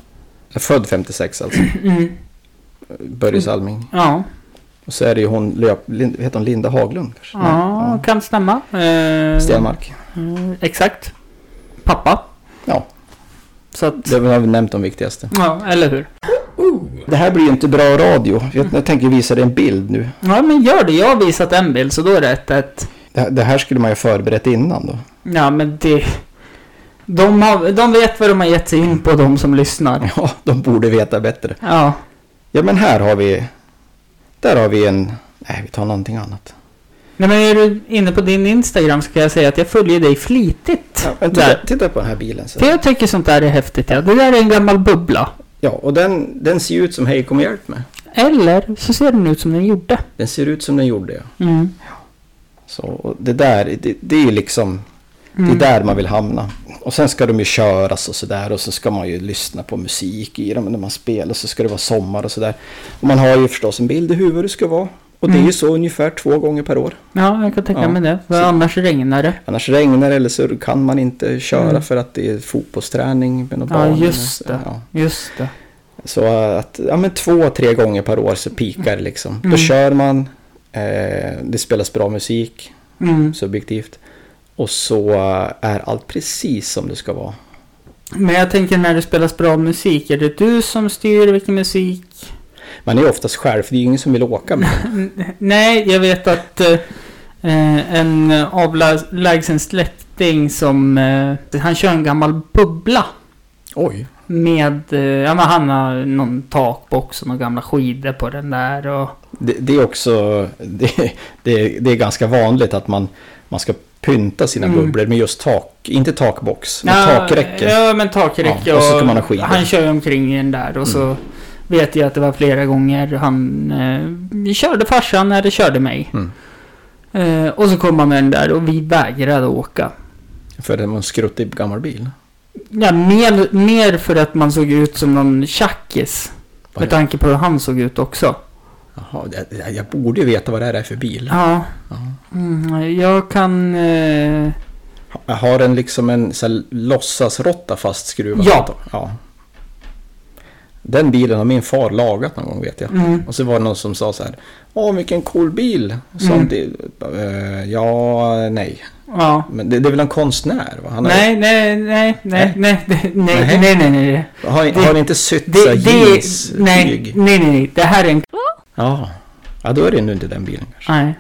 B: Född 56 alltså.
A: Mm.
B: Börje Salming.
A: Ja,
B: Och så är det ju hon, löp, Lin- heter hon Linda Haglund kanske? Nej,
A: ja, kan stämma. Eh,
B: ja. Stenmark.
A: Mm, exakt. Pappa.
B: Ja,
A: Så att,
B: det har vi nämnt de viktigaste.
A: ja, eller hur?
B: Det här blir ju inte bra radio. Jag,
A: Mm.
B: jag tänker visa dig en bild nu.
A: Ja, men gör det. Jag har visat en bild, så då är det ett, ett.
B: Det, här- det här skulle man ju ha förberett innan då.
A: Ja, men det... De, har, de vet vad de har gett sig in på, de som lyssnar.
B: Ja, de borde veta bättre.
A: Ja.
B: Ja, men här har vi... Där har vi en... Nej, vi tar någonting annat.
A: Nej, men är du inne på din Instagram så kan jag säga att jag följer dig flitigt.
B: Ja, men titta,
A: där.
B: titta på den här bilen. Så.
A: För jag tycker sånt där är häftigt. Ja. Det där är en gammal bubbla.
B: Ja, och den, den ser ju ut som Hej kom och hjälp mig.
A: Eller så ser den ut som den gjorde.
B: Den ser ut som den gjorde, ja.
A: Mm.
B: Så och det där, det, det är ju liksom,
A: Mm.
B: det är där man vill hamna. Och sen ska de ju köras och sådär och så ska man ju lyssna på musik i dem när man spelar så ska det vara sommar och sådär. Och man har ju förstås en bild i huvudet hur det ska vara. Och det är
A: Mm.
B: ju så ungefär två gånger per år.
A: Ja, jag kan tänka
B: Ja.
A: mig det. För
B: Så-
A: annars regnar det.
B: Annars regnar det eller så kan man inte köra
A: Mm.
B: för att det är fotbollsträning med några
A: Ja,
B: barn.
A: just det.
B: Ja.
A: Just det.
B: Så att, ja men två, tre gånger per år så pikar det liksom. Då
A: Mm.
B: kör man, eh, det spelas bra musik,
A: Mm.
B: subjektivt. Och så eh, är allt precis som det ska vara.
A: Men jag tänker när det spelas bra musik, är det du som styr vilken musik?
B: Man är ju oftast själv, för det är ju ingen som vill åka med.
A: N- Nej, jag vet att eh, eh, en avlägsen släkting som... Eh, han kör en gammal bubbla.
B: Oj.
A: Med... Eh, ja, men han har någon takbox och några gamla skidor på den där och...
B: Det, det är också, det, det, det är ganska vanligt att man, man ska pynta sina
A: Mm.
B: bubblor med just tak, inte takbox, men
A: Ja,
B: takräcke.
A: Ja, men takräcke.
B: Ja, och så kan man ha skidor. Mm.
A: Han kör ju omkring i den där och så vet jag att det var flera gånger han eh, körde farsan eller körde mig.
B: Mm.
A: Eh, och så kom han med den där och vi vägrade åka.
B: För det var en skruttig gammal bil.
A: Ja, mer, mer för att man såg ut som någon tjackis.
B: Vad är
A: Med
B: det?
A: tanke på hur han såg ut också.
B: Jaha, det- det- jag borde ju veta vad det här är för bil.
A: Ja.
B: Ja.
A: Mm, jag kan... Eh,
B: Ha- Har den liksom en så här låtsasrotta fastskruvad?
A: Ja.
B: ja. Den bilen har min far lagat någon gång vet jag.
A: mm,
B: Och så var det någon som sa så här. Åh vilken cool bil!
A: Mm.
B: Samtidigt, eh, ja, nej.
A: ja.
B: Men det, det är väl en konstnär? Va? Han har,
A: Nej, nej, nej, nej, nej, nej, nej, nej, nej, nej.
B: har,
A: det-
B: har han inte sytt så
A: Det,
B: här
A: det,
B: jeans,
A: nej,
B: tyg?
A: nej, nej, nej, det här är en...
B: Ja. ja, då är det nu inte den bilen kanske.
A: Nej.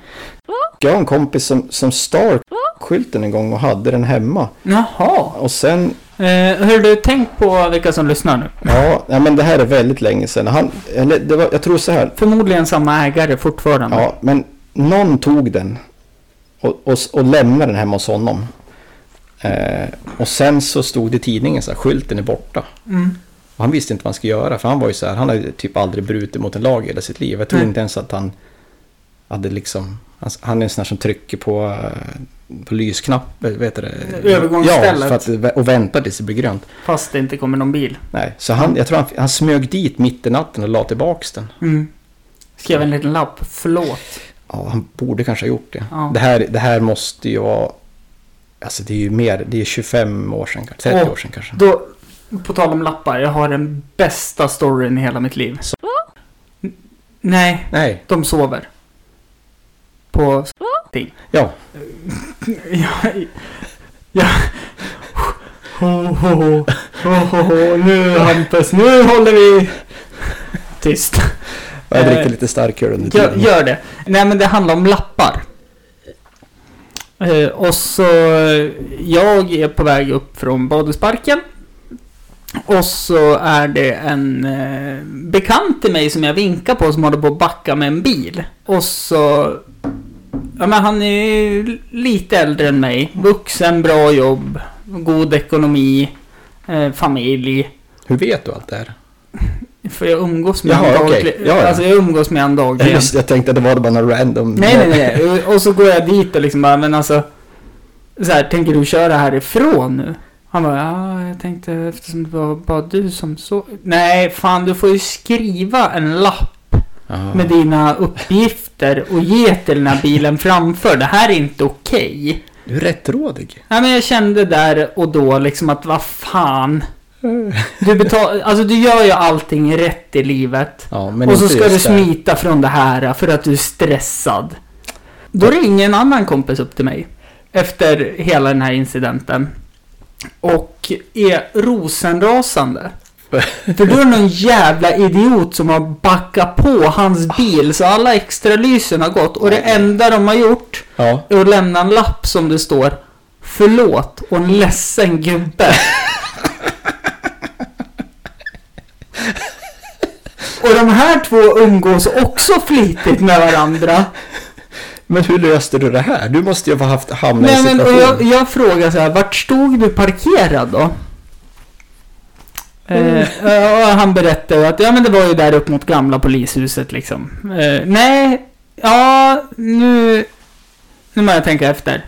B: Jag har en kompis som, som stal skylten en gång och hade den hemma.
A: Jaha.
B: Och sen
A: Eh, hur du tänkt på vilka som lyssnar nu?
B: Ja, nej, men det här är väldigt länge sedan. Han, eller det var, jag tror så här.
A: Förmodligen samma ägare fortfarande.
B: Ja, men någon tog den och, och, och lämnade den hemma hos honom. Eh, och sen så stod det i tidningen så här, skylten är borta.
A: Mm.
B: Och han visste inte vad han skulle göra, för han var ju så här, han hade typ aldrig brutit mot en lag i hela sitt liv. Jag tror
A: Nej.
B: inte ens att han hade liksom, han, han är en sån här som trycker på, eh, på lysknappen, vet du det?
A: Övergångsstället.
B: Ja, för att, vä- och väntar tills det blir grönt.
A: Fast det inte kommer någon bil.
B: Nej, så han, jag tror han, han smög dit mitt i natten och la tillbaks den.
A: Mm. Skrev en liten lapp. Förlåt.
B: Ja, han borde kanske ha gjort det.
A: Ja.
B: Det, här, det här måste ju vara... Alltså det är ju mer, det är 25 år sedan kanske, 30
A: Åh.
B: år sedan kanske.
A: Då, på tal om lappar. Jag har den bästa storyn i hela mitt liv.
B: Så-
A: N- nej,
B: Nej,
A: de sover. På...
B: ja.
A: Jag... jag... Ho, ho, ho. Ho, ho, ho. Nu Hampus, nu håller vi... Tyst.
B: Jag
A: Eh,
B: dricker lite starköl under
A: Gör,
B: tiden.
A: gör det. Nej men det handlar om lappar. Eh, och så eh, jag är på väg upp från badhusparken. Och så är det en eh, bekant till mig som jag vinkar på som håller på att backa med en bil. Och så... Ja men han är ju lite äldre än mig. Vuxen, bra jobb, god ekonomi, eh, familj.
B: Hur vet du allt det här?
A: För jag umgås med
B: Jaha,
A: honom
B: okej.
A: dagligen.
B: Ja, ja.
A: Alltså jag umgås med honom
B: Jag,
A: dagligen.
B: just, jag tänkte att det var bara någon random...
A: Eh. Nej, nej, nej. Och så går jag dit och liksom bara, men alltså. Så här, tänker du köra härifrån nu? Han bara, ja, jag tänkte eftersom det var bara du som så. Nej, fan du får ju skriva en lapp
B: Jaha.
A: med dina uppgifter och ge till den här bilen framför. Det här är inte okej.
B: Du är rättrådig.
A: Nej, men jag kände där och då liksom att vad fan. Du betal, alltså du gör ju allting rätt i livet.
B: Ja, men
A: och så
B: inte
A: ska
B: just
A: du
B: det här.
A: smita från det här för att du är stressad. Då ringer en annan kompis upp till mig. Efter hela den här incidenten. Och är rosenrasande. För då är det någon jävla idiot som har backat på hans bil så alla extra lysen har gått och det enda de har gjort
B: Ja.
A: är att lämna en lapp som det står Förlåt och en ledsen gubbe. och de här två umgås också flitigt med varandra.
B: Men hur löste du det här? Du måste ju ha haft hamnat i
A: Nej,
B: en
A: men, och
B: situation.
A: jag, jag frågar så här, vart stod du parkerad då? Eh, och han berättade att ja, men det var ju där upp mot gamla polishuset liksom. Eh, nej, ja, nu... nu måste jag tänka efter.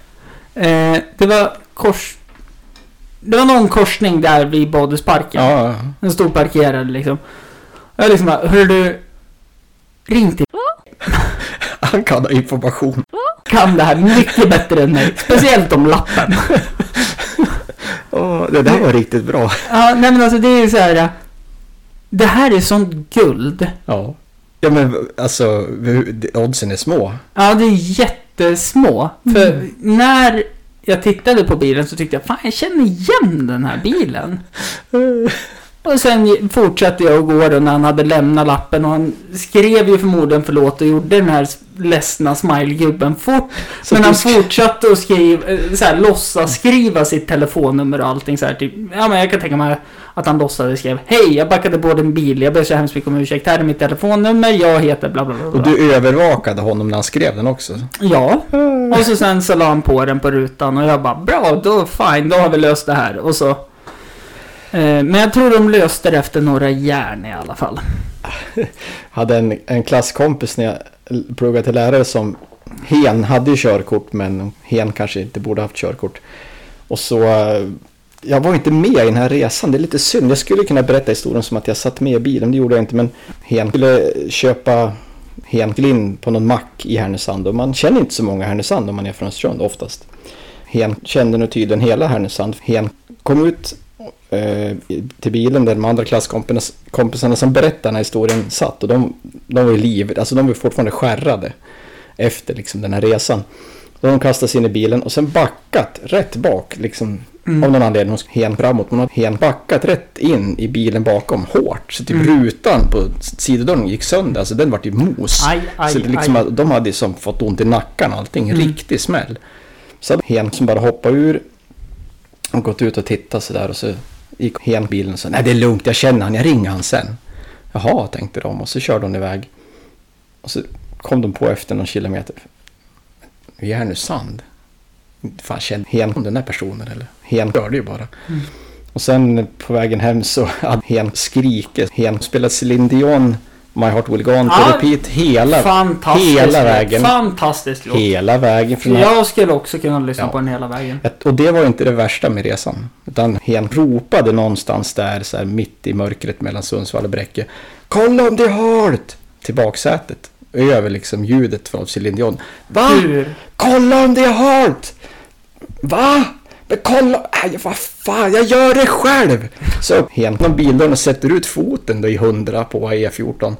A: Eh, det var kors... Det var någon korsning där vid Badhusparken.
B: Ja, ja.
A: Den stod parkerad liksom. Jag liksom bara, hör du... Ring till
B: Han kan ha information.
A: kan det här mycket bättre än mig. Speciellt om lappen.
B: Åh, det där var riktigt bra.
A: Ja, nej men alltså det är ju så här. eh, Det här är sånt guld.
B: Ja. Ja men alltså, hur- oddsen är små.
A: Ja, det är jättesmå. För
B: Mm.
A: när jag tittade på bilen så tyckte jag, fan jag känner igen den här bilen. Och sen fortsatte jag att gå då när han hade lämnat lappen och han skrev ju förmodligen förlåt och gjorde den här ledsna smilegubben fort.
B: Så
A: men
B: du
A: han
B: sk-
A: fortsatte att skriva, eh, så här, låtsas skriva sitt telefonnummer och allting så här, typ. Ja men jag kan tänka mig att han låtsades skriva Hej, jag backade på din bil, jag ber så hemskt mycket om ursäkt. Här är mitt telefonnummer, jag heter bla bla bla. bla.
B: Och du övervakade honom när han skrev den också.
A: Ja,
B: Mm.
A: och så sen så la han på den på rutan och jag bara bra, då fine, då har vi löst det här. Och så... Eh, men jag tror de löste det efter några järn i alla fall.
B: hade en, en klasskompis när jag l- pluggade till lärare som hen hade ju körkort men hen kanske inte borde haft körkort. Och så, eh, jag var inte med i den här resan, det är lite synd. Jag skulle kunna berätta historien som att jag satt med i bilen, det gjorde jag inte. Men hen skulle köpa henklin på någon mack i Härnösand och man känner inte så många i Härnösand om man är från Östersund oftast. Hen kände nog tydligen hela Härnösand. Hen kom ut eh, i- till bilen där de andra klasskompisarna som berättade den här historien satt. Och de, de var ju livet, alltså de var ju fortfarande skärrade efter liksom, den här resan. De kastade sig in i bilen och sen backat rätt bak. Liksom,
A: Mm.
B: Av någon anledning, hon hen framåt, men hon hen backat rätt in i bilen bakom hårt. Så typ
A: Mm.
B: rutan på s- sidodörren gick sönder, alltså den vart ju mos.
A: Aj, aj,
B: så det liksom,
A: aj. Mm.
B: att De hade ju som fått ont i nacken och allting, riktig smäll. Så hen som bara hoppade ur och gått ut och tittat sådär och så gick hen till bilen och sa nej det är lugnt, jag känner han, jag ringer han sen. Jaha, tänkte de och så körde hon iväg. Och så kom de på efter någon kilometer. Vi är nu sand. Fan, känner hen den där personen eller? Hen hörde ju bara.
A: Mm.
B: Och sen på vägen hem så hade hen skrikit. Hen spelat Céline Dion, My Heart Will Go On på
A: Ja,
B: repeat hela,
A: Fantastiskt.
B: hela
A: låt.
B: vägen.
A: Fantastiskt låt.
B: Hela vägen från
A: Jag skulle också kunna lyssna
B: Ja.
A: på den hela vägen.
B: ett- Och det var ju inte det värsta med resan. Utan hen ropade någonstans där, så här mitt i mörkret mellan Sundsvall och Bräcke. Kolla om det är halt! Till baksätet. Över liksom ljudet från Céline Dion. Va?
A: Hur?
B: Kolla om det är halt! Va? Men kolla! Aj, vad fan, jag gör det själv! Så upp hen från bildörren och sätter ut foten då i 100 på E E14.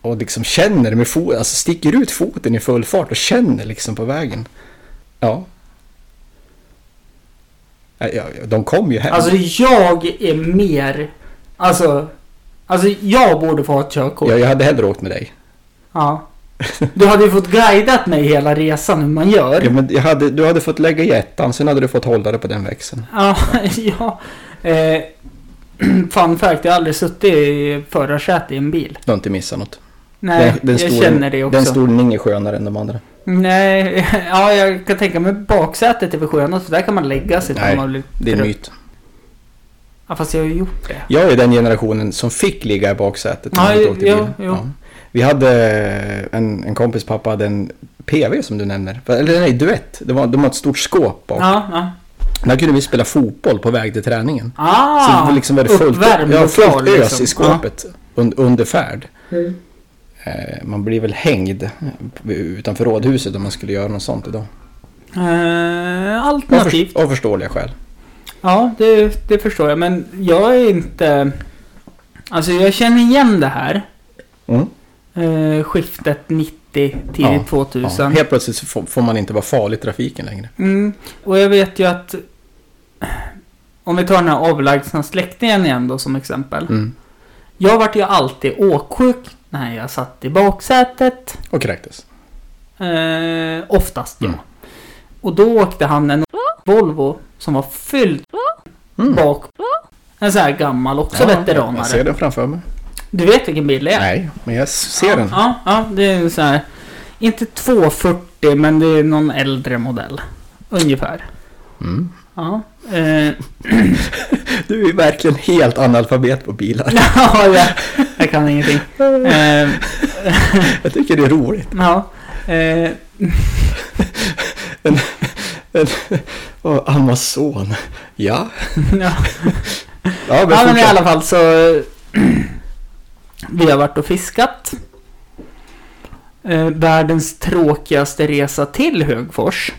B: Och liksom känner med foten, alltså sticker ut foten i full fart och känner liksom på vägen. Ja. Ja, ja, ja, De kom ju hem.
A: Alltså jag är mer... Alltså... Alltså jag borde få ha ett körkort.
B: ja, jag hade hellre åkt med dig.
A: Ja. Du hade ju fått guidat mig hela resan hur man gör.
B: Ja, men jag hade, du hade fått lägga i ettan, sen hade du fått hålla det på den växeln.
A: Ja, ja. Eh, fun fact, jag har aldrig suttit i förarsätet i en bil.
B: Du har inte missat något.
A: Nej, jag
B: stolen-
A: känner det också.
B: Den stolen är ingen skönare än de andra.
A: Nej, ja, jag kan tänka mig baksätet är väl skönast, för där kan man lägga sig.
B: Nej,
A: om man blir
B: Det är en
A: trött.
B: myt.
A: Ja, fast jag har ju gjort det.
B: Jag är den generationen som fick ligga i baksätet när
A: Ja,
B: man inte åkte
A: jo,
B: bil.
A: jo.
B: Ja. Vi hade en, en kompis pappa hade en PV som du nämner. Eller nej, duett. Det var, de har ett stort skåp bak.
A: Ja, ja.
B: Där kunde vi spela fotboll på väg till träningen. Så det
A: Ah!
B: var liksom väldigt fullt,
A: uppvärmd
B: ja,
A: och
B: fullt
A: klar,
B: ös
A: liksom. Mm.
B: i skåpet un, under färd. Eh, man blir väl hängd eh, utanför rådhuset om man skulle göra något sånt idag.
A: Eh,
B: Av,
A: alternativt.
B: förs- av förståeliga skäl.
A: Ja, det, det förstår jag. Men jag är inte... Alltså, jag känner igen det här.
B: Mm.
A: Eh, skiftet 90, tidigt
B: Ja,
A: 2000.
B: Ja. Helt plötsligt så får, får man inte vara farlig i trafiken längre.
A: Mm, och jag vet ju att om vi tar den här avlägsna släktingen igen då som exempel.
B: Mm.
A: Jag vart ju alltid åksjuk när jag satt i baksätet.
B: Och kräktes.
A: Eh, oftast ja.
B: Mm.
A: Och då åkte han en Volvo som var fylld
B: Mm.
A: bak. En sån här gammal, också
B: jag, jag ser
A: veteranare.
B: den framför mig.
A: Du vet vilken bil det är?
B: Nej, men jag ser
A: ja,
B: den.
A: Ja, ja, det är en sån här. Inte 240 men det är någon äldre modell. Ungefär.
B: Mm.
A: Ja. Eh,
B: Du är verkligen helt analfabet på bilar.
A: Ja, jag, jag kan ingenting. Eh, Ehm,
B: Jag tycker det är roligt.
A: ja. Eh,
B: En, en, och Amazon. Ja.
A: ja.
B: Ja,
A: Ja, men i
B: fortsätt.
A: alla fall så... Vi har varit och fiskat. Eh, världens tråkigaste resa till Högfors.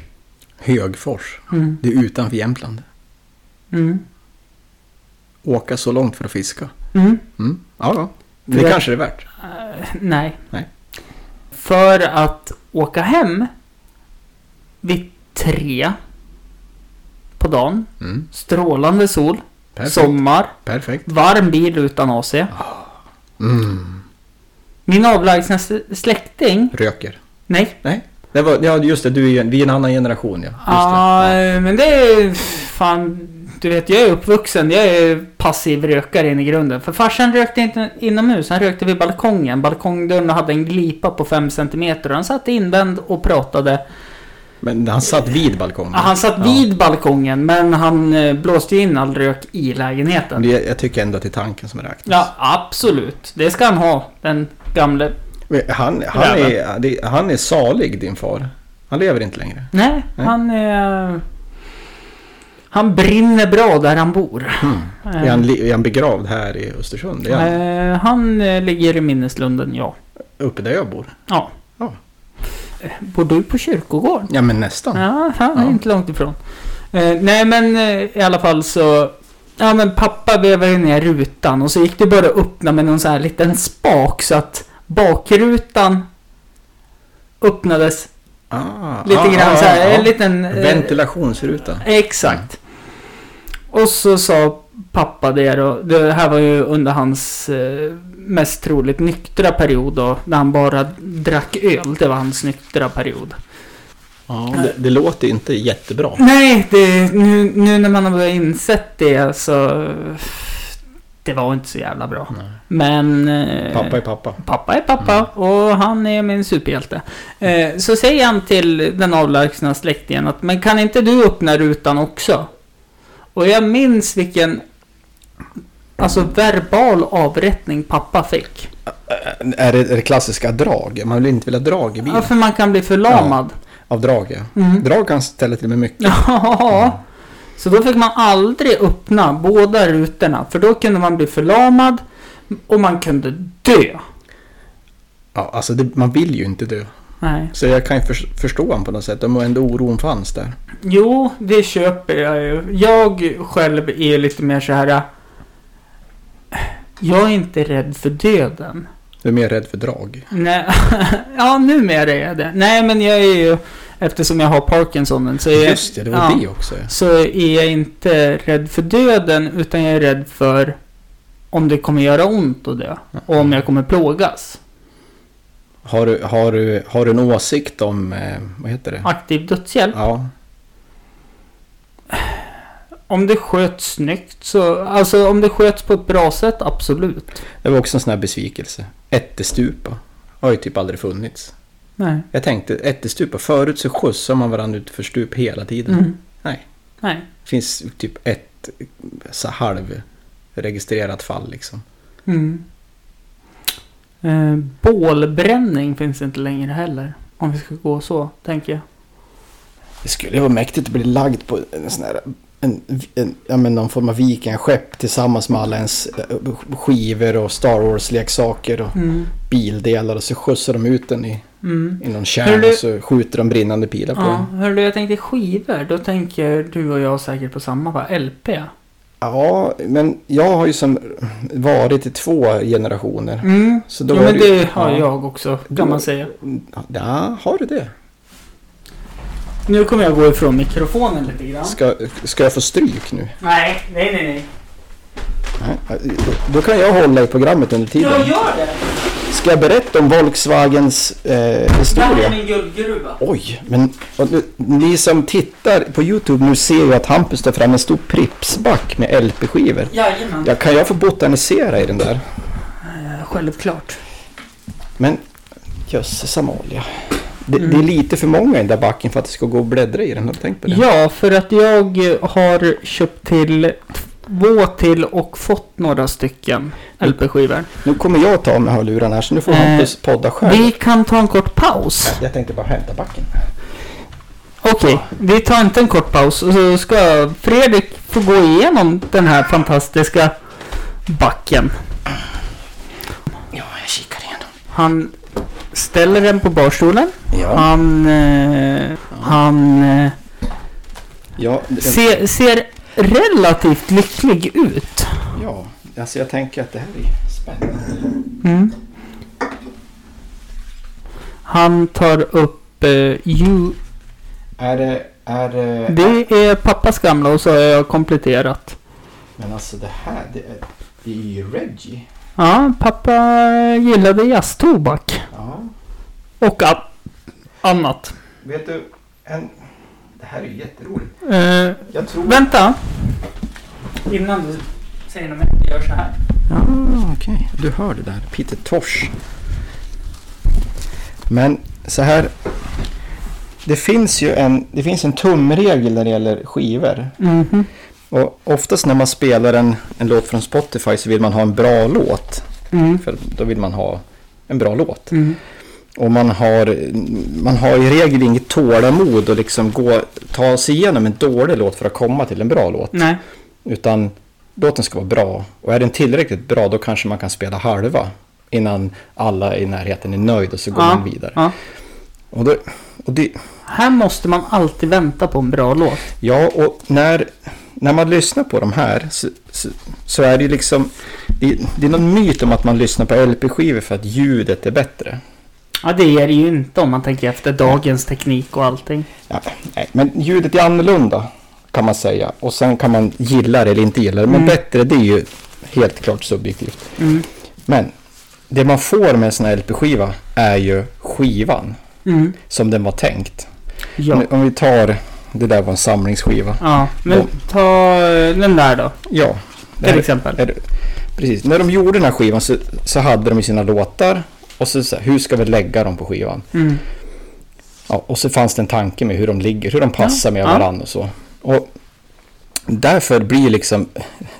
B: Högfors.
A: Mm.
B: Det är utanför Jämtland.
A: Mm.
B: Åka så långt för att fiska.
A: Mm.
B: Mm. Ja, ja. Det
A: Ja.
B: kanske det är värt.
A: Eh, nej.
B: Nej.
A: För att åka hem vid tre på dagen.
B: Mm.
A: Strålande sol,
B: Perfekt.
A: sommar,
B: Perfekt.
A: varm bil utan AC.
B: Mm.
A: Min avlägsna s- släkting,
B: Röker.
A: nej,
B: Nej. Det var, ja, just det. Du är, ju en- vi är en annan generation, ja. Just det.
A: Ja, Ah, men det är fan... Du vet, jag är uppvuxen. Jag är passiv rökare in i grunden. För farsan rökte inte inomhus. Han rökte vid balkongen. Balkongdörren hade en glipa på 5 cm. Och han satt invänd och pratade.
B: Men han satt vid balkongen.
A: Ja, han satt
B: Mm. Ja.
A: vid balkongen, men han eh, blåste ju in all rök i
B: Men
A: lägenheten.
B: det- Jag tycker ändå att det är tanken som räknas.
A: Ja, absolut. Det ska han ha, den gamle.
B: Men Han, han, är, det, han är salig, din far. Han lever inte längre.
A: Nej,
B: Nej.
A: han är... Han brinner bra där han bor.
B: Är, han, li- är han begravd här i Östersund? Är han
A: Eh, han eh, ligger i minneslunden, ja.
B: uppe där jag bor?
A: Ja. Eh,
B: Ja.
A: Bor du på kyrkogården?
B: Ja, men nästan.
A: Ja, han är
B: Ja.
A: inte långt ifrån. Eh, nej, men eh, i alla fall så... Ja, men pappa vevade ner rutan och så gick det bara att öppna med någon så här liten spak så att bakrutan öppnades
B: Ah,
A: lite
B: ah,
A: grann så här.
B: ah,
A: En
B: ah.
A: liten... eh,
B: Ventilationsruta.
A: Exakt. Och så sa pappa det då. Det här var ju under hans eh, mest troligt nyktra period då. När han bara drack öl. Det var hans nyktra period.
B: Ja, det, det låter inte jättebra.
A: Nej, det, nu, nu när man har börjat insett det så... Det var inte så jävla bra.
B: Nej.
A: Men... eh,
B: Pappa är pappa.
A: Pappa är pappa och han är min superhjälte. Eh, så säger han till den avlägsna släktingen att men kan inte du öppna rutan också? Och jag minns vilken alltså verbal avrättning pappa fick.
B: Är det, är det klassiska drag? Man vill inte vilja drag i bilen.
A: Ja, för man kan bli förlamad.
B: Av drag, ja.
A: Mm.
B: Drag kan ställa till med mycket.
A: Ja. Så då fick man aldrig öppna båda rutorna för då kunde man bli förlamad och man kunde dö.
B: Ja, alltså det, man vill ju inte dö.
A: Nej.
B: Så jag kan ju förs- förstå honom på något sätt. Men ändå oron fanns där.
A: Jo, det köper jag ju. Jag själv är lite mer så här. äh, Jag är inte rädd för döden.
B: Du är mer rädd för drag.
A: Nej, ja numera är jag det. Nej, men jag är ju, eftersom jag har Parkinsonen så är,
B: Just det, det var
A: ja,
B: det också. ja.
A: så är jag inte rädd för döden utan jag är rädd för om det kommer göra ont och dö. Och om jag kommer plågas.
B: Har du, har du, har du en åsikt om, eh, vad heter det?
A: Aktiv dödshjälp.
B: Ja,
A: Om det sköts snyggt så, alltså om det sköts på ett bra sätt, absolut.
B: det var också en sån här besvikelse. Ättestupa har ju typ aldrig funnits.
A: Nej.
B: Jag tänkte, ättestupa, förut så skjutsade man varandra ut för stup hela tiden.
A: Mm.
B: Nej.
A: Nej.
B: Det finns typ ett så halvregistrerat fall liksom.
A: Mm. Eh, bålbränning finns inte längre heller. Om vi ska gå så, tänker jag.
B: Det skulle ju vara mäktigt att bli lagd på en sån här, en, en, ja, men någon form av vikingaskepp tillsammans med alla ens eh, skivor och Star Wars-leksaker och
A: Mm.
B: bildelar och så skjutsar de ut den i
A: Mm.
B: i någon
A: Hör
B: kärna
A: du-
B: och så skjuter de brinnande pilar på
A: Ja,
B: den.
A: hörru jag tänkte skivor. Då tänker du och jag säkert på samma va? LP?
B: Ja, men jag har ju som varit i två generationer.
A: Mm.
B: Så
A: Jo,
B: då var
A: men
B: det ju-
A: det har
B: ja.
A: jag också,
B: Då-
A: kan man säga.
B: Ja, har du det?
A: Nu kommer jag gå ifrån mikrofonen lite grann.
B: Ska, ska jag få stryk nu?
A: Nej, nej, nej, nej.
B: Nej. Då kan jag hålla i programmet under
A: Jag
B: tiden.
A: gör det!
B: Ska jag berätta om Volkswagens eh,
A: Det här är
B: historia?
A: min guldgruva.
B: Oj, men och nu, ni som tittar på Youtube nu ser ju att Hampus tar fram en stor Pripsback med LP-skivor.
A: Jajamän.
B: Ja, kan jag få botanisera i den där?
A: Ja, självklart.
B: Men jösses Amalia. Det, det är lite för många i den där backen för att det ska gå och bläddra i den. Har du tänkt på det?
A: Mm. Ja, för att jag har köpt till två till och fått några stycken LP-skivor.
B: Nu kommer jag ta med hörlurarna här så nu får
A: Eh,
B: Hampus podda själv.
A: Vi kan ta en kort paus.
B: Jag tänkte bara hämta backen.
A: Okej, vi tar inte en kort paus och så ska Fredrik få gå igenom den här fantastiska backen.
B: Ja, jag kikar igenom.
A: Han ställer den på barstolen.
B: Ja.
A: Han, eh, han eh,
B: Ja, det-
A: ser, ser relativt lycklig ut.
B: ja, alltså jag tänker att det här är spännande.
A: Mm. Han tar upp eh, you.
B: Är det... Är det...
A: Det är pappas gamla och så har jag kompletterat.
B: Men alltså det här, det är, det är ju Reggie.
A: Ja, pappa gillade jazztobak
B: Ja.
A: och a- annat.
B: Vet du, en... Det här är ju jätteroligt.
A: Eh,
B: Jag tror...
A: Vänta. Innan du säger något mer, vi gör så här.
B: Ja, Ah, okej. Du hör det där. Peter Tosh. Men så här. Det finns ju en, det finns en tumregel när det gäller skivor.
A: Mhm.
B: Och oftast när man spelar en, en låt från Spotify så vill man ha en bra låt.
A: Mm.
B: För då vill man ha en bra låt.
A: Mm.
B: Och man har, man har i regel inget tålamod att liksom gå, ta sig igenom en dålig låt för att komma till en bra låt.
A: Nej.
B: Utan låten ska vara bra. Och är den tillräckligt bra då kanske man kan spela halva. Innan alla i närheten är nöjda och så går
A: Ja,
B: man vidare.
A: ja.
B: Och då, och det,
A: Här måste man alltid vänta på en bra låt.
B: ja, och när, när man lyssnar på de här så, så, så är det ju liksom... Det, det är någon myt om att man lyssnar på LP-skivor för att ljudet är bättre.
A: Ja, det är det ju inte om man tänker efter dagens teknik och allting.
B: Ja, nej, men ljudet är annorlunda kan man säga. Och sen kan man gilla det eller inte gilla det. Men
A: Mm.
B: bättre det är ju helt klart subjektivt.
A: Mm.
B: Men det man får med en sån här LP-skiva är ju skivan
A: Mm.
B: som den var tänkt.
A: Ja.
B: Nu, om vi tar, det där var en samlingsskiva.
A: Ja, men ta eh, den där då,
B: Ja, det
A: till
B: här,
A: exempel.
B: är, precis. När de gjorde den här skivan så, så hade de ju sina låtar. Och så, så här, hur ska vi lägga dem på skivan?
A: Mm.
B: Ja, och så fanns det en tanke med hur de ligger, hur de passar med
A: ja.
B: varandra och så. Och därför blir liksom,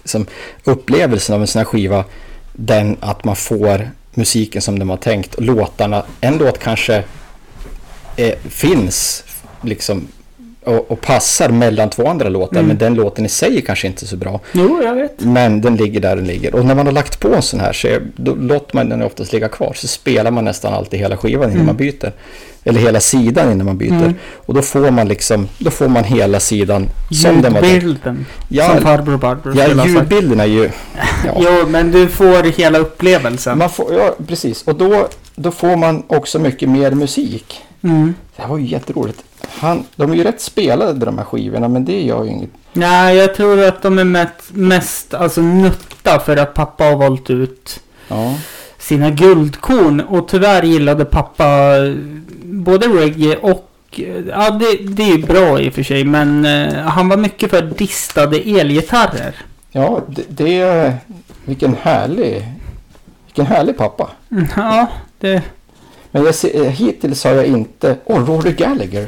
B: liksom upplevelsen av en sån här skiva den att man får musiken som de har tänkt. Låtarna, en låt kanske eh, finns liksom och, och passar mellan två andra låtar,
A: Mm.
B: men den låten i sig är kanske inte så bra.
A: Jo, jag vet.
B: Men den ligger där den ligger. Och när man har lagt på en sån här så är, då låter man den oftast ligga kvar. Så spelar man nästan alltid hela skivan innan
A: Mm.
B: man byter. Eller hela sidan innan man byter.
A: Mm.
B: Och då får man liksom, då får man hela sidan som den var tänkt.
A: Ljudbilden.
B: Ja,
A: Som farbror Barbro skulle
B: ja
A: ha sagt.
B: ljudbilden är ju... Ja,
A: Jo, men du får hela upplevelsen.
B: man får, ja precis. Och då, då får man också mycket mer musik.
A: Mm.
B: Det här var ju jätteroligt. Han, de är ju rätt spelade de här skivorna, men det gör ju inget.
A: Nej, jag tror att de är mest, mest alltså nötta för att pappa har valt ut
B: Ja,
A: sina guldkorn. Och tyvärr gillade pappa eh, både reggae och... eh, Ja, det, det är ju bra i och för sig, men eh, han var mycket för distade elgitarrer.
B: ja det, det... Vilken härlig... Vilken härlig pappa.
A: Mm, Ja, det...
B: Men jag ser, eh, hittills har jag inte... Åh, oh, Rory Gallagher!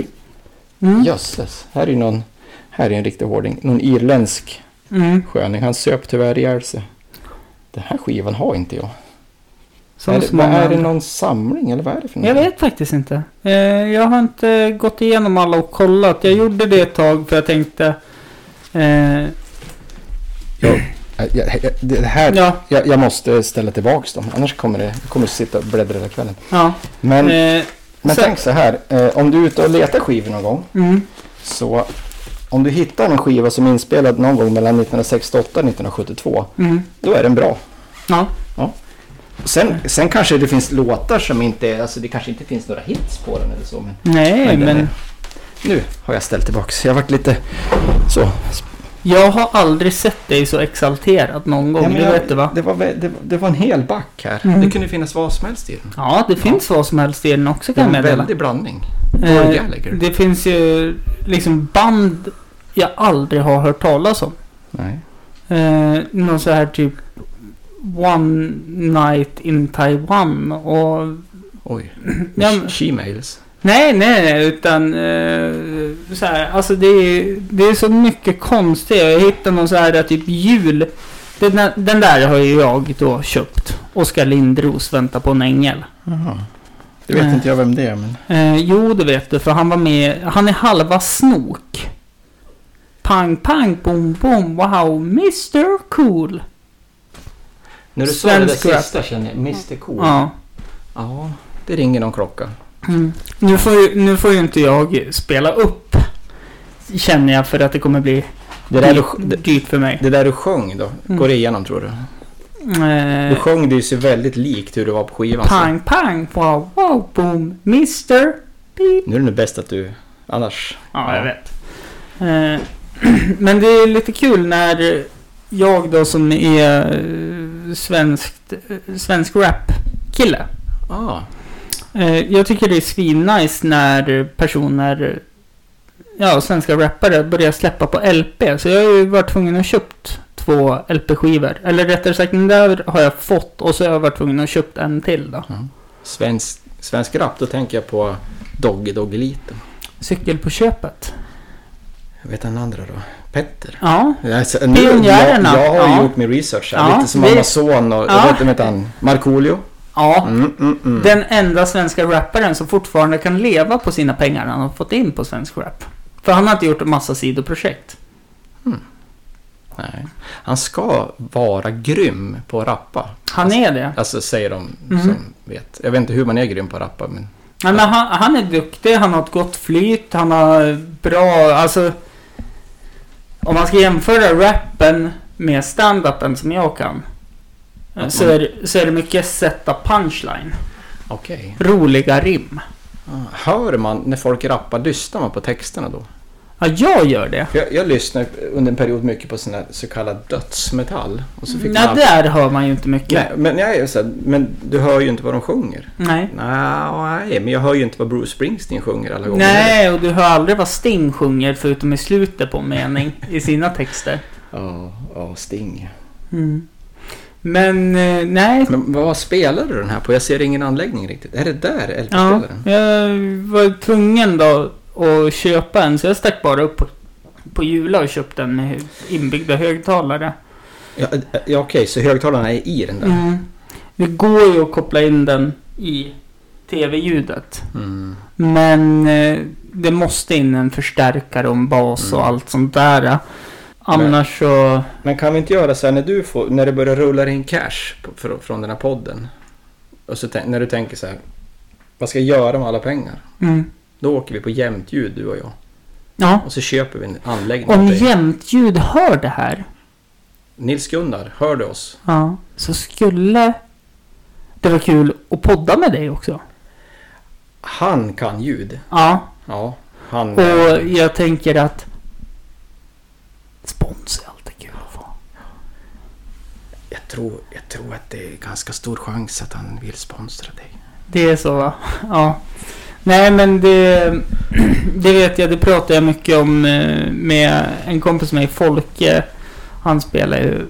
A: Mm,
B: Jösses, här är ju någon... Här är en riktig hårding. Någon irländsk
A: mm.
B: sköning. Han söp tyvärr ihjäl sig. Den här skivan har inte jag.
A: Som
B: är, det,
A: så många
B: är det
A: andra.
B: någon samling eller vad är det för
A: Jag vet faktiskt inte. Eh, Jag har inte gått igenom alla och kollat. Jag gjorde det ett tag för jag tänkte... Eh,
B: Jag, jag, jag, Eh, det här,
A: ja,
B: jag, jag måste ställa tillbaks dem. Annars kommer det, jag kommer sitta och bläddra hela kvällen.
A: ja.
B: Men,
A: Eh,
B: men
A: så-
B: tänk så här. Eh, om du är ute och letar skivor någon gång.
A: mm,
B: Så om du hittar en skiva som är inspelad någon gång mellan 1968 och 1972.
A: mm,
B: Då är den bra.
A: ja.
B: Sen, sen kanske det finns låtar som inte är, alltså det kanske inte finns några hits på den eller så. Men
A: Nej,
B: Men
A: men...
B: den är- nu har jag ställt tillbaks. Jag har varit lite så.
A: Jag har aldrig sett dig så exalterad någon gång,
B: Ja, men
A: det
B: jag-
A: vet du va?
B: Det var, vä- det, var- det var en hel back här.
A: Mm.
B: Det kunde finnas vad som helst i den.
A: Ja, det finns vad som helst i den också
B: Det
A: kan
B: var
A: jag
B: en
A: meddela.
B: väldig blandning. Rory
A: Eh,
B: Gallagher.
A: det finns ju liksom band jag aldrig har hört talas om.
B: Nej.
A: Eh, någon så här typ One Night in Taiwan och...
B: Oj.
A: Ja, men-
B: She-mails.
A: Nej, nej, nej, utan eh, så här, alltså det är, det är så mycket konstigt. Jag hittade någon så här där typ jul. Den, där- den där har ju jag då köpt. Oskar Lindros, Vänta på en ängel.
C: Det vet
A: Nej.
C: inte jag vem det är, men...
A: Eh, jo, det vet du, för han var med. Han är halva snok. Pang, pang, boom, boom, wow, Mr Cool.
B: När du sa det där
A: Svensk rap.
B: sista känner jag, Mr Cool. Ja.
A: Ja.
B: det ringer någon klocka.
A: Mm. Nu, får ju, nu får ju inte jag spela upp, känner jag, för att det kommer bli
B: Det där,
A: dyrt,
B: du, det,
A: dyrt för mig.
B: det där du sjöng då,
A: Mm.
B: går det igenom tror du? Du
A: Eh,
B: sjöng det ju så väldigt likt hur det var på skivan. så-
A: pang, pang, wow, wow, boom, Mr Beep.
B: Nu är det nog bäst att du... Annars...
A: Ja, jag vet. Eh, Men det är lite kul när jag då som är eh, svenskt, eh, svensk rap-kille.
B: Ah.
A: Eh, Jag tycker det är svinnice när personer, ja, svenska rappare börjar släppa på LP. Så jag har ju varit tvungen att köpt två LP-skivor. Eller rättare sagt, den där har jag fått och så har jag varit tvungen att köpt en till då.
B: Svensk, svensk rap, då tänker jag på Doggy Doggelito.
A: Cykel på köpet.
B: Jag vet den andra då? Petter?
A: Ja,
B: Alltså,
A: Pionjärerna.
B: Jag, jag har ju
A: Ja.
B: gjort min research här.
A: Ja,
B: Lite som
A: vi-
B: Amazon och...
A: Ja.
B: Ja. Vet, vet han? Markoolio?
A: ja.
B: Mm, mm, mm.
A: Den enda svenska rapparen som fortfarande kan leva på sina pengar han har fått in på svensk rap. För han har inte gjort en massa sidoprojekt.
B: Nej. Han ska vara grym på att rappa.
A: Han är det.
B: Alltså säger de
A: Mhm.
B: som vet. Jag vet inte hur man är grym på att rappa men...
A: Nej, men han, han är duktig, han har ett gott flyt, han har bra, alltså... Om man ska jämföra rappen med stand-upen som jag kan. eh, Så är, det- så är det mycket sätta punchline.
B: Okej.
A: Roliga rim.
B: Ah, Hör man när folk rappar, lyssnar man på texterna då?
A: Ja, jag gör det.
B: För Jag, jag lyssnade under en period mycket på sån här så kallad dödsmetall. Och så fick
A: Nej,
B: man...
A: där hör man ju inte mycket.
B: Nej, men, jag är så här, men du hör ju inte vad de sjunger.
A: Nej.
B: Nej, men jag hör ju inte vad Bruce Springsteen sjunger alla gånger.
A: Nej, och du hör aldrig vad Sting sjunger förutom i slutet på en mening i sina texter.
B: Ja, ja, Sting.
A: Mm. Men eh, nej.
B: Men vad spelar du den här på? Jag ser ingen anläggning riktigt. Är det där
A: Ja,
B: LP-spelaren?
A: jag var tvungen då att köpa en så jag stack bara upp på, på Jula och köpte en med inbyggda högtalare.
B: Ja, ja, ja, okej, så högtalarna är i den där?
A: Mm. Det går ju att koppla in den i tv-ljudet.
B: Mm.
A: Men eh, det måste in en förstärkare och en bas och
B: Mm.
A: allt sånt där. Annars så...
B: Men kan vi inte göra så här när du får, när det börjar rulla in cash på, fr- från den här podden. Och så tän- när du tänker så här, vad ska jag göra med alla pengar?
A: Mm.
B: Då åker vi på jämnt ljud du och jag.
A: Ja.
B: Och så köper vi en anläggning
A: Om
B: åt dig.
A: jämnt ljud hör det här,
B: Nils-Gunnar, hör du oss?
A: ja, så skulle det vara kul att podda med dig också.
B: Han kan ljud.
A: Ja,
B: Ja, han...
A: och jag tänker att spons är alltid kul att få.
B: Jag, tror, jag tror att det är ganska stor chans att han vill sponsra dig.
A: Det är så va? Ja. Nej men det, det vet jag, det pratar jag mycket om eh, med en kompis med mig, Folke. Han spelar ju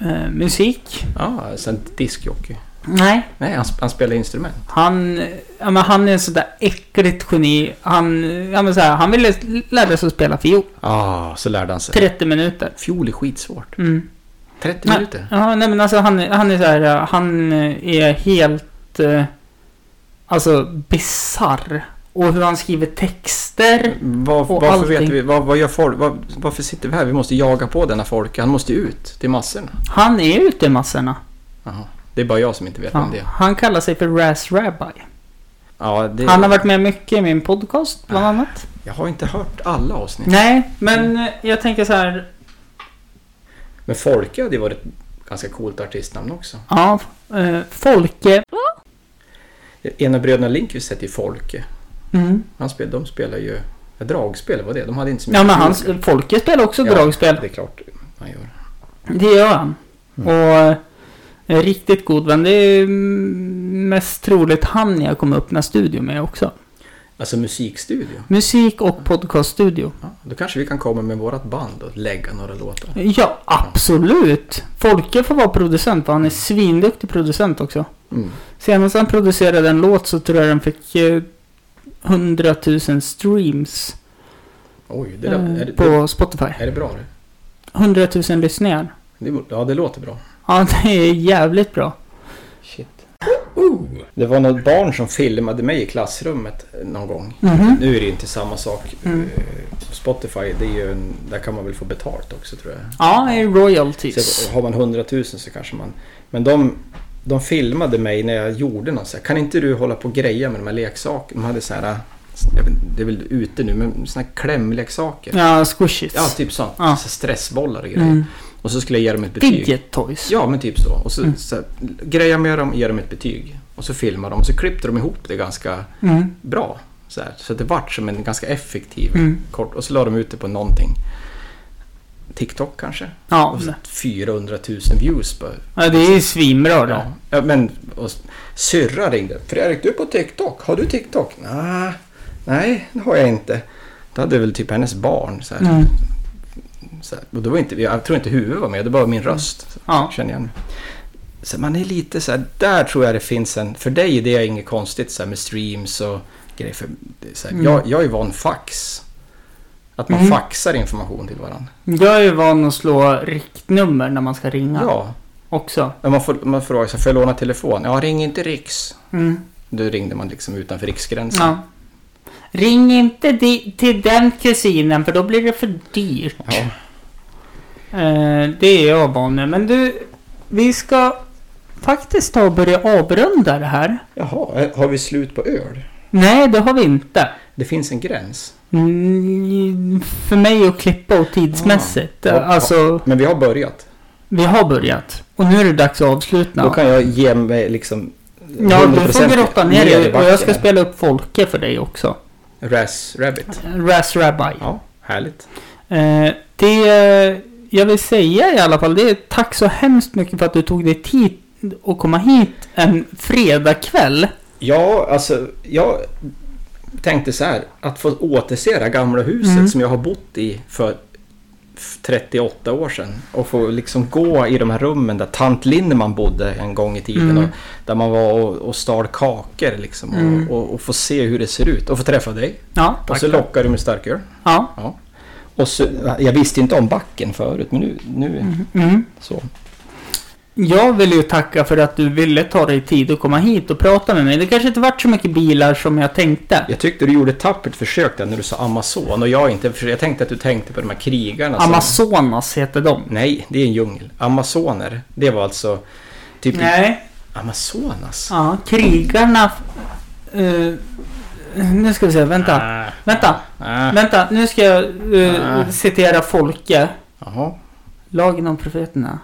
A: eh, musik.
B: Ja, ah, sen diskjockey.
A: Nej,
B: Nej, han, han spelar instrument.
A: Han, ja, men han är en sådär äckligt geni. Han, ja, men så här, han ville lära sig att spela fiol.
B: Ja, så lärde han sig.
A: 30 minuter.
B: Fiol är skitsvårt.
A: Mm.
B: 30
A: Nej.
B: minuter.
A: Ja, nej men alltså han, han är så här, ja, han är helt, eh, alltså bisarr. Och hur han skriver texter.
B: Var,
A: Och
B: varför vet
A: allting.
B: vi, vad, vad gör folk? Var, varför sitter vi här? Vi måste jaga på denna folk. Han måste ut till massorna.
A: Han är ute i massorna.
B: Jaha. Det är bara jag som inte vet
A: Ja,
B: vem det är.
A: han kallar sig för Raz Rabbi.
B: Ja, det,
A: Han har varit med mycket i min podcast
B: Ah.
A: bland annat.
B: Jag har inte hört alla avsnitt.
A: Nej, men eh, jag tänker så här,
B: Men Folke hade ju varit ett ganska coolt artistnamn också.
A: ja, eh, Folke.
B: Ena bröderna Lindqvist hette ju Folke.
A: Mm.
B: Han spel, de spelar ju ja, dragspel, vad det De hade inte så
A: Ja men han,
B: dragspel.
A: Folke spelar också
B: Mm. Ja,
A: dragspel.
B: Det är klart han gör.
A: Det gör han.
B: Mm.
A: Och är riktigt god vän. Det är mm, mest troligt han jag kommer öppna studio med också.
B: Alltså musikstudio.
A: Musik och podcaststudio.
B: Ja, då kanske vi kan komma med vårat band och lägga några låtar.
A: Ja, absolut! Folke får vara producent, för han är svinduktig producent också.
B: Mm.
A: Senast han producerade en låt så tror jag den fick eh, 100 000 streams
B: Oj, det,
A: eh,
B: lät- är, det,
A: på Spotify.
B: är det bra det?
A: 100 000 lyssningar.
B: det? Ja, det låter bra.
A: Ja, det är jävligt bra.
B: Shit. Det var något barn som filmade mig i klassrummet någon gång.
A: Mhm.
B: Nu är det ju inte samma sak.
A: Mm.
B: Eh, Spotify, det är ju en, där kan man väl få betalt också tror jag.
A: Ja, det är royalties.
B: Så har man 100 000 så kanske man... Men de, de filmade mig när jag gjorde något så här, Kan inte du hålla på och greja med de här leksakerna? De hade så här... jag vet- Det är väl ute nu, men såna här klämleksaker. Ja,
A: Ja, squishies.
B: typ sånt.
A: Ja.
B: Så stressbollar och grejer.
A: mm.
B: Och så skulle jag ge dem ett betyg.
A: Fidget toys.
B: Ja, men typ så. Och så,
A: Mm.
B: så här, greja med dem, ge dem ett betyg. Och så filmar de och så klippte de ihop det ganska
A: Mm.
B: bra. Så, här. så det vart som en ganska effektiv
A: Mm.
B: kort. Och så la de ut det på någonting. TikTok kanske?
A: Ja,
B: Och så 400 000 views på
A: ja, det är ju svinbra då.
B: Ja. ja men och syrra ringde. Fredrik, du är på TikTok. Har du TikTok? Nej, nej, det har jag inte. Då hade väl typ hennes barn. Så här,
A: Mm.
B: så här. Och det var inte, jag tror inte huvudet var med, det var min
A: Mm.
B: röst. Så,
A: Ja.
B: Känner jag nu. Så man är lite så här, där tror jag det finns en... För dig det är inget konstigt så här, med streams och grejer. För, det är så här,
A: Mm.
B: jag, jag är van fax. Att man
A: Mm.
B: faxar information till varandra.
A: Jag är ju van att slå riktnummer när man ska ringa
B: Ja.
A: också.
B: ja. Man, får, man frågar sig, får jag låna telefon? Ja, ring inte Riks.
A: Mm.
B: Då ringde man liksom utanför riksgränsen.
A: Ja. Ring inte di- till den kusinen för då blir det för dyrt.
B: Ja.
A: Eh, det är jag van med. Men du, vi ska faktiskt ta och börja avrunda det här.
B: Jaha, eh, har vi slut på öl?
A: Nej, det har vi inte.
B: Det finns en gräns.
A: Mm, för mig att klippa och tidsmässigt.
B: Ja. Ja.
A: Alltså,
B: Men vi har börjat.
A: vi har börjat. Och nu är det dags att avsluta.
B: Då kan jag ge mig liksom...
A: Ja, du får
B: 100%
A: grotta ner
B: i
A: dig och jag ska
B: backen.
A: spela upp Folke för dig också.
B: Raz Rabbit.
A: Raz Rabbi.
B: Ja, härligt.
A: Eh, det eh, jag vill säga i alla fall, det är tack så hemskt mycket för att du tog dig tid att komma hit en fredagkväll.
B: Ja, alltså jag tänkte så här. Att få återse det här gamla huset
A: Mm.
B: som jag har bott i för 38 år sedan. Och få liksom gå i de här rummen där tant Lindemann bodde en gång i tiden.
A: Mm.
B: Och, där man var och, och stal kakor liksom.
A: Mm.
B: Och, och, och få se hur det ser ut. Och få träffa dig.
A: Ja,
B: Och
A: tack.
B: så lockar du med starköl.
A: Ja.
B: Ja. Och så, jag visste inte om backen förut, men nu, nu
A: Mm.
B: så.
A: Jag vill ju tacka för att du ville ta dig tid att komma hit och prata med mig. Det kanske inte vart så mycket bilar som jag tänkte.
B: Jag tyckte du gjorde ett tappert försök där när du sa Amazon och jag inte, för jag tänkte att du tänkte på de här krigarna. som-
A: Amazonas heter de.
B: Nej, det är en djungel. Amazoner, det var alltså typ
A: Nej. Ah.
B: Amazonas.
A: Ja, krigarna... eh, nu ska vi se, vänta.
B: Ah,
A: Vänta,
B: ah.
A: vänta. Nu ska jag eh,
B: Ah.
A: citera Folke.
B: Jaha.
A: Lagen om profeterna.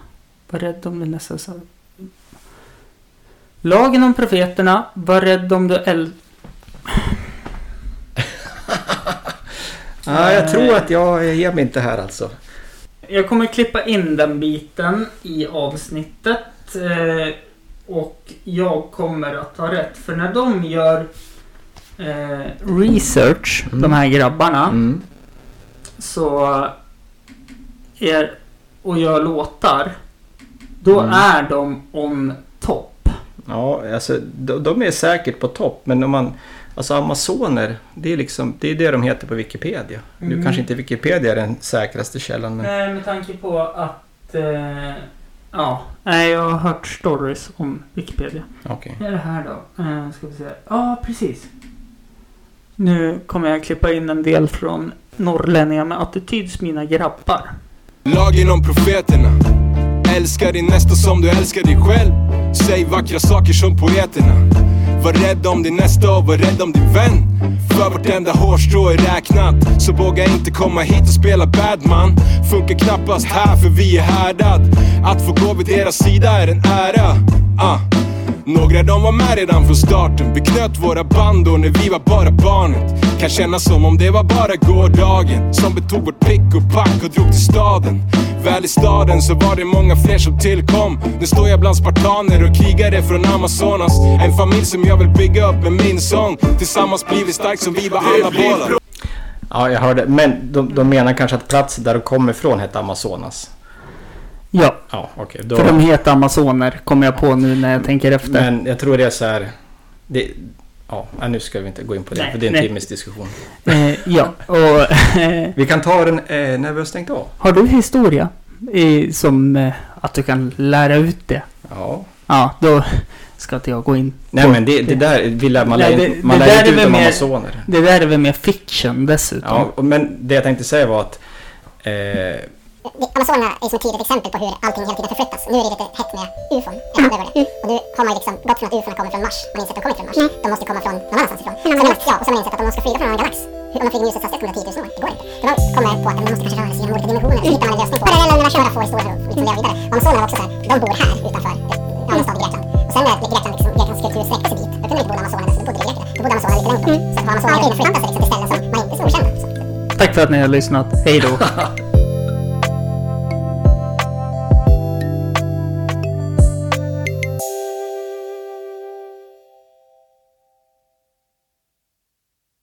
A: Var rädd om det nästa sal- Lagen om profeterna. Var rädd om det eld...
B: Ah, jag tror att jag, jag ger mig inte här alltså.
A: Jag kommer klippa in den biten i avsnittet. Eh, och jag kommer att ha rätt. För när de gör eh, research,
B: Mm.
A: de här grabbarna.
B: Mm.
A: så är, och gör låtar, då
B: Mm.
A: är de on top.
B: Ja, alltså de, de är säkert på topp, men om man... Alltså Amazoner, det är liksom, det är det de heter på Wikipedia. Nu
A: Mm.
B: kanske inte Wikipedia är den säkraste källan, men...
A: Nej, med tanke på att... Eh, ja, nej, jag har hört stories om Wikipedia.
B: Okej.
A: Vad är det här då? Eh, ska vi se. Ja, precis. Nu kommer jag klippa in en del från Norrlänningar med attityds mina grabbar.
C: Lagen om profeterna Älska din nästa som du älskar dig själv Säg vackra saker som poeterna Var rädd om din nästa och var rädd om din vän För vartenda hårstrå är räknat Så våga inte komma hit och spela badman Funkar knappast här för vi är härdad Att få gå vid deras sida är en ära ah. Några de var med redan från starten Vi knöt våra band då när vi var bara barnet Kan kännas som om det var bara gårdagen Som betog vårt pick och pack och drog till staden Väl i staden så var det många fler som tillkom Nu står jag bland spartaner och krigare från Amazonas En familj som jag vill bygga upp med min sång Tillsammans blir vi stark som vi var alla båda
B: Ja, jag hörde. Men de, de menar kanske att platsen där de kommer ifrån hette Amazonas.
A: Ja,
B: Ja, okej.
A: för de
B: då,
A: heter Amazoner, kommer jag på nu när jag tänker efter.
B: men jag tror det är så här... Det, ja, nej, nu ska vi inte gå in på det,
A: Nej,
B: för det är en
A: nej.
B: timmes diskussion.
A: Eh, ja, och... Eh,
B: Vi kan ta den eh, när vi har stängt av.
A: Har du historia? I, som eh, att du kan lära ut det?
B: Ja.
A: Ja, då ska inte jag gå in
B: Nej men det, det där vill jag- man
A: Nej,
B: lär,
A: det- det
B: man
A: där
B: lär
A: är
B: inte ut
A: väl
B: om
A: mer-
B: amazoner.
A: Det där är väl mer fiction dessutom.
B: Ja, och- men det jag tänkte säga var att eh,
D: Amazonerna är som ett tydligt exempel på hur allting hela tiden förflyttas. Nu är det lite hett med ufon, eller vad var det? Och nu har man ju liksom gått från att ufona kommer från Mars, man inser att de kommer inte från Mars. De måste komma från någon annanstans ifrån. Sen har man insett, ja, och sen har man insett att om de ska flyga från en annan galax, hur- om de flyger med ljusets hastighet kommer det ta 10 000 år, det går inte. För de kommer på att men de måste kanske röra sig genom olika dimensioner, så hittar man en lösning på parallella universum, några få historier och liksom leva vidare. Och Amazonerna var också såhär, de bor här utanför eh, ja, någon stad i Grekland. Och sen när Grekland, liksom, Greklands kultur sträckte sig dit, då kunde de inte bo i Amazonerna, så då bodde de i Grekland. Då bodde Amazonerna lite längre bort. Så att Amazonerna förflyttade sig liksom till ställen som man inte är så okända. Så.
A: Tack för att ni har lyssnat. Hej då.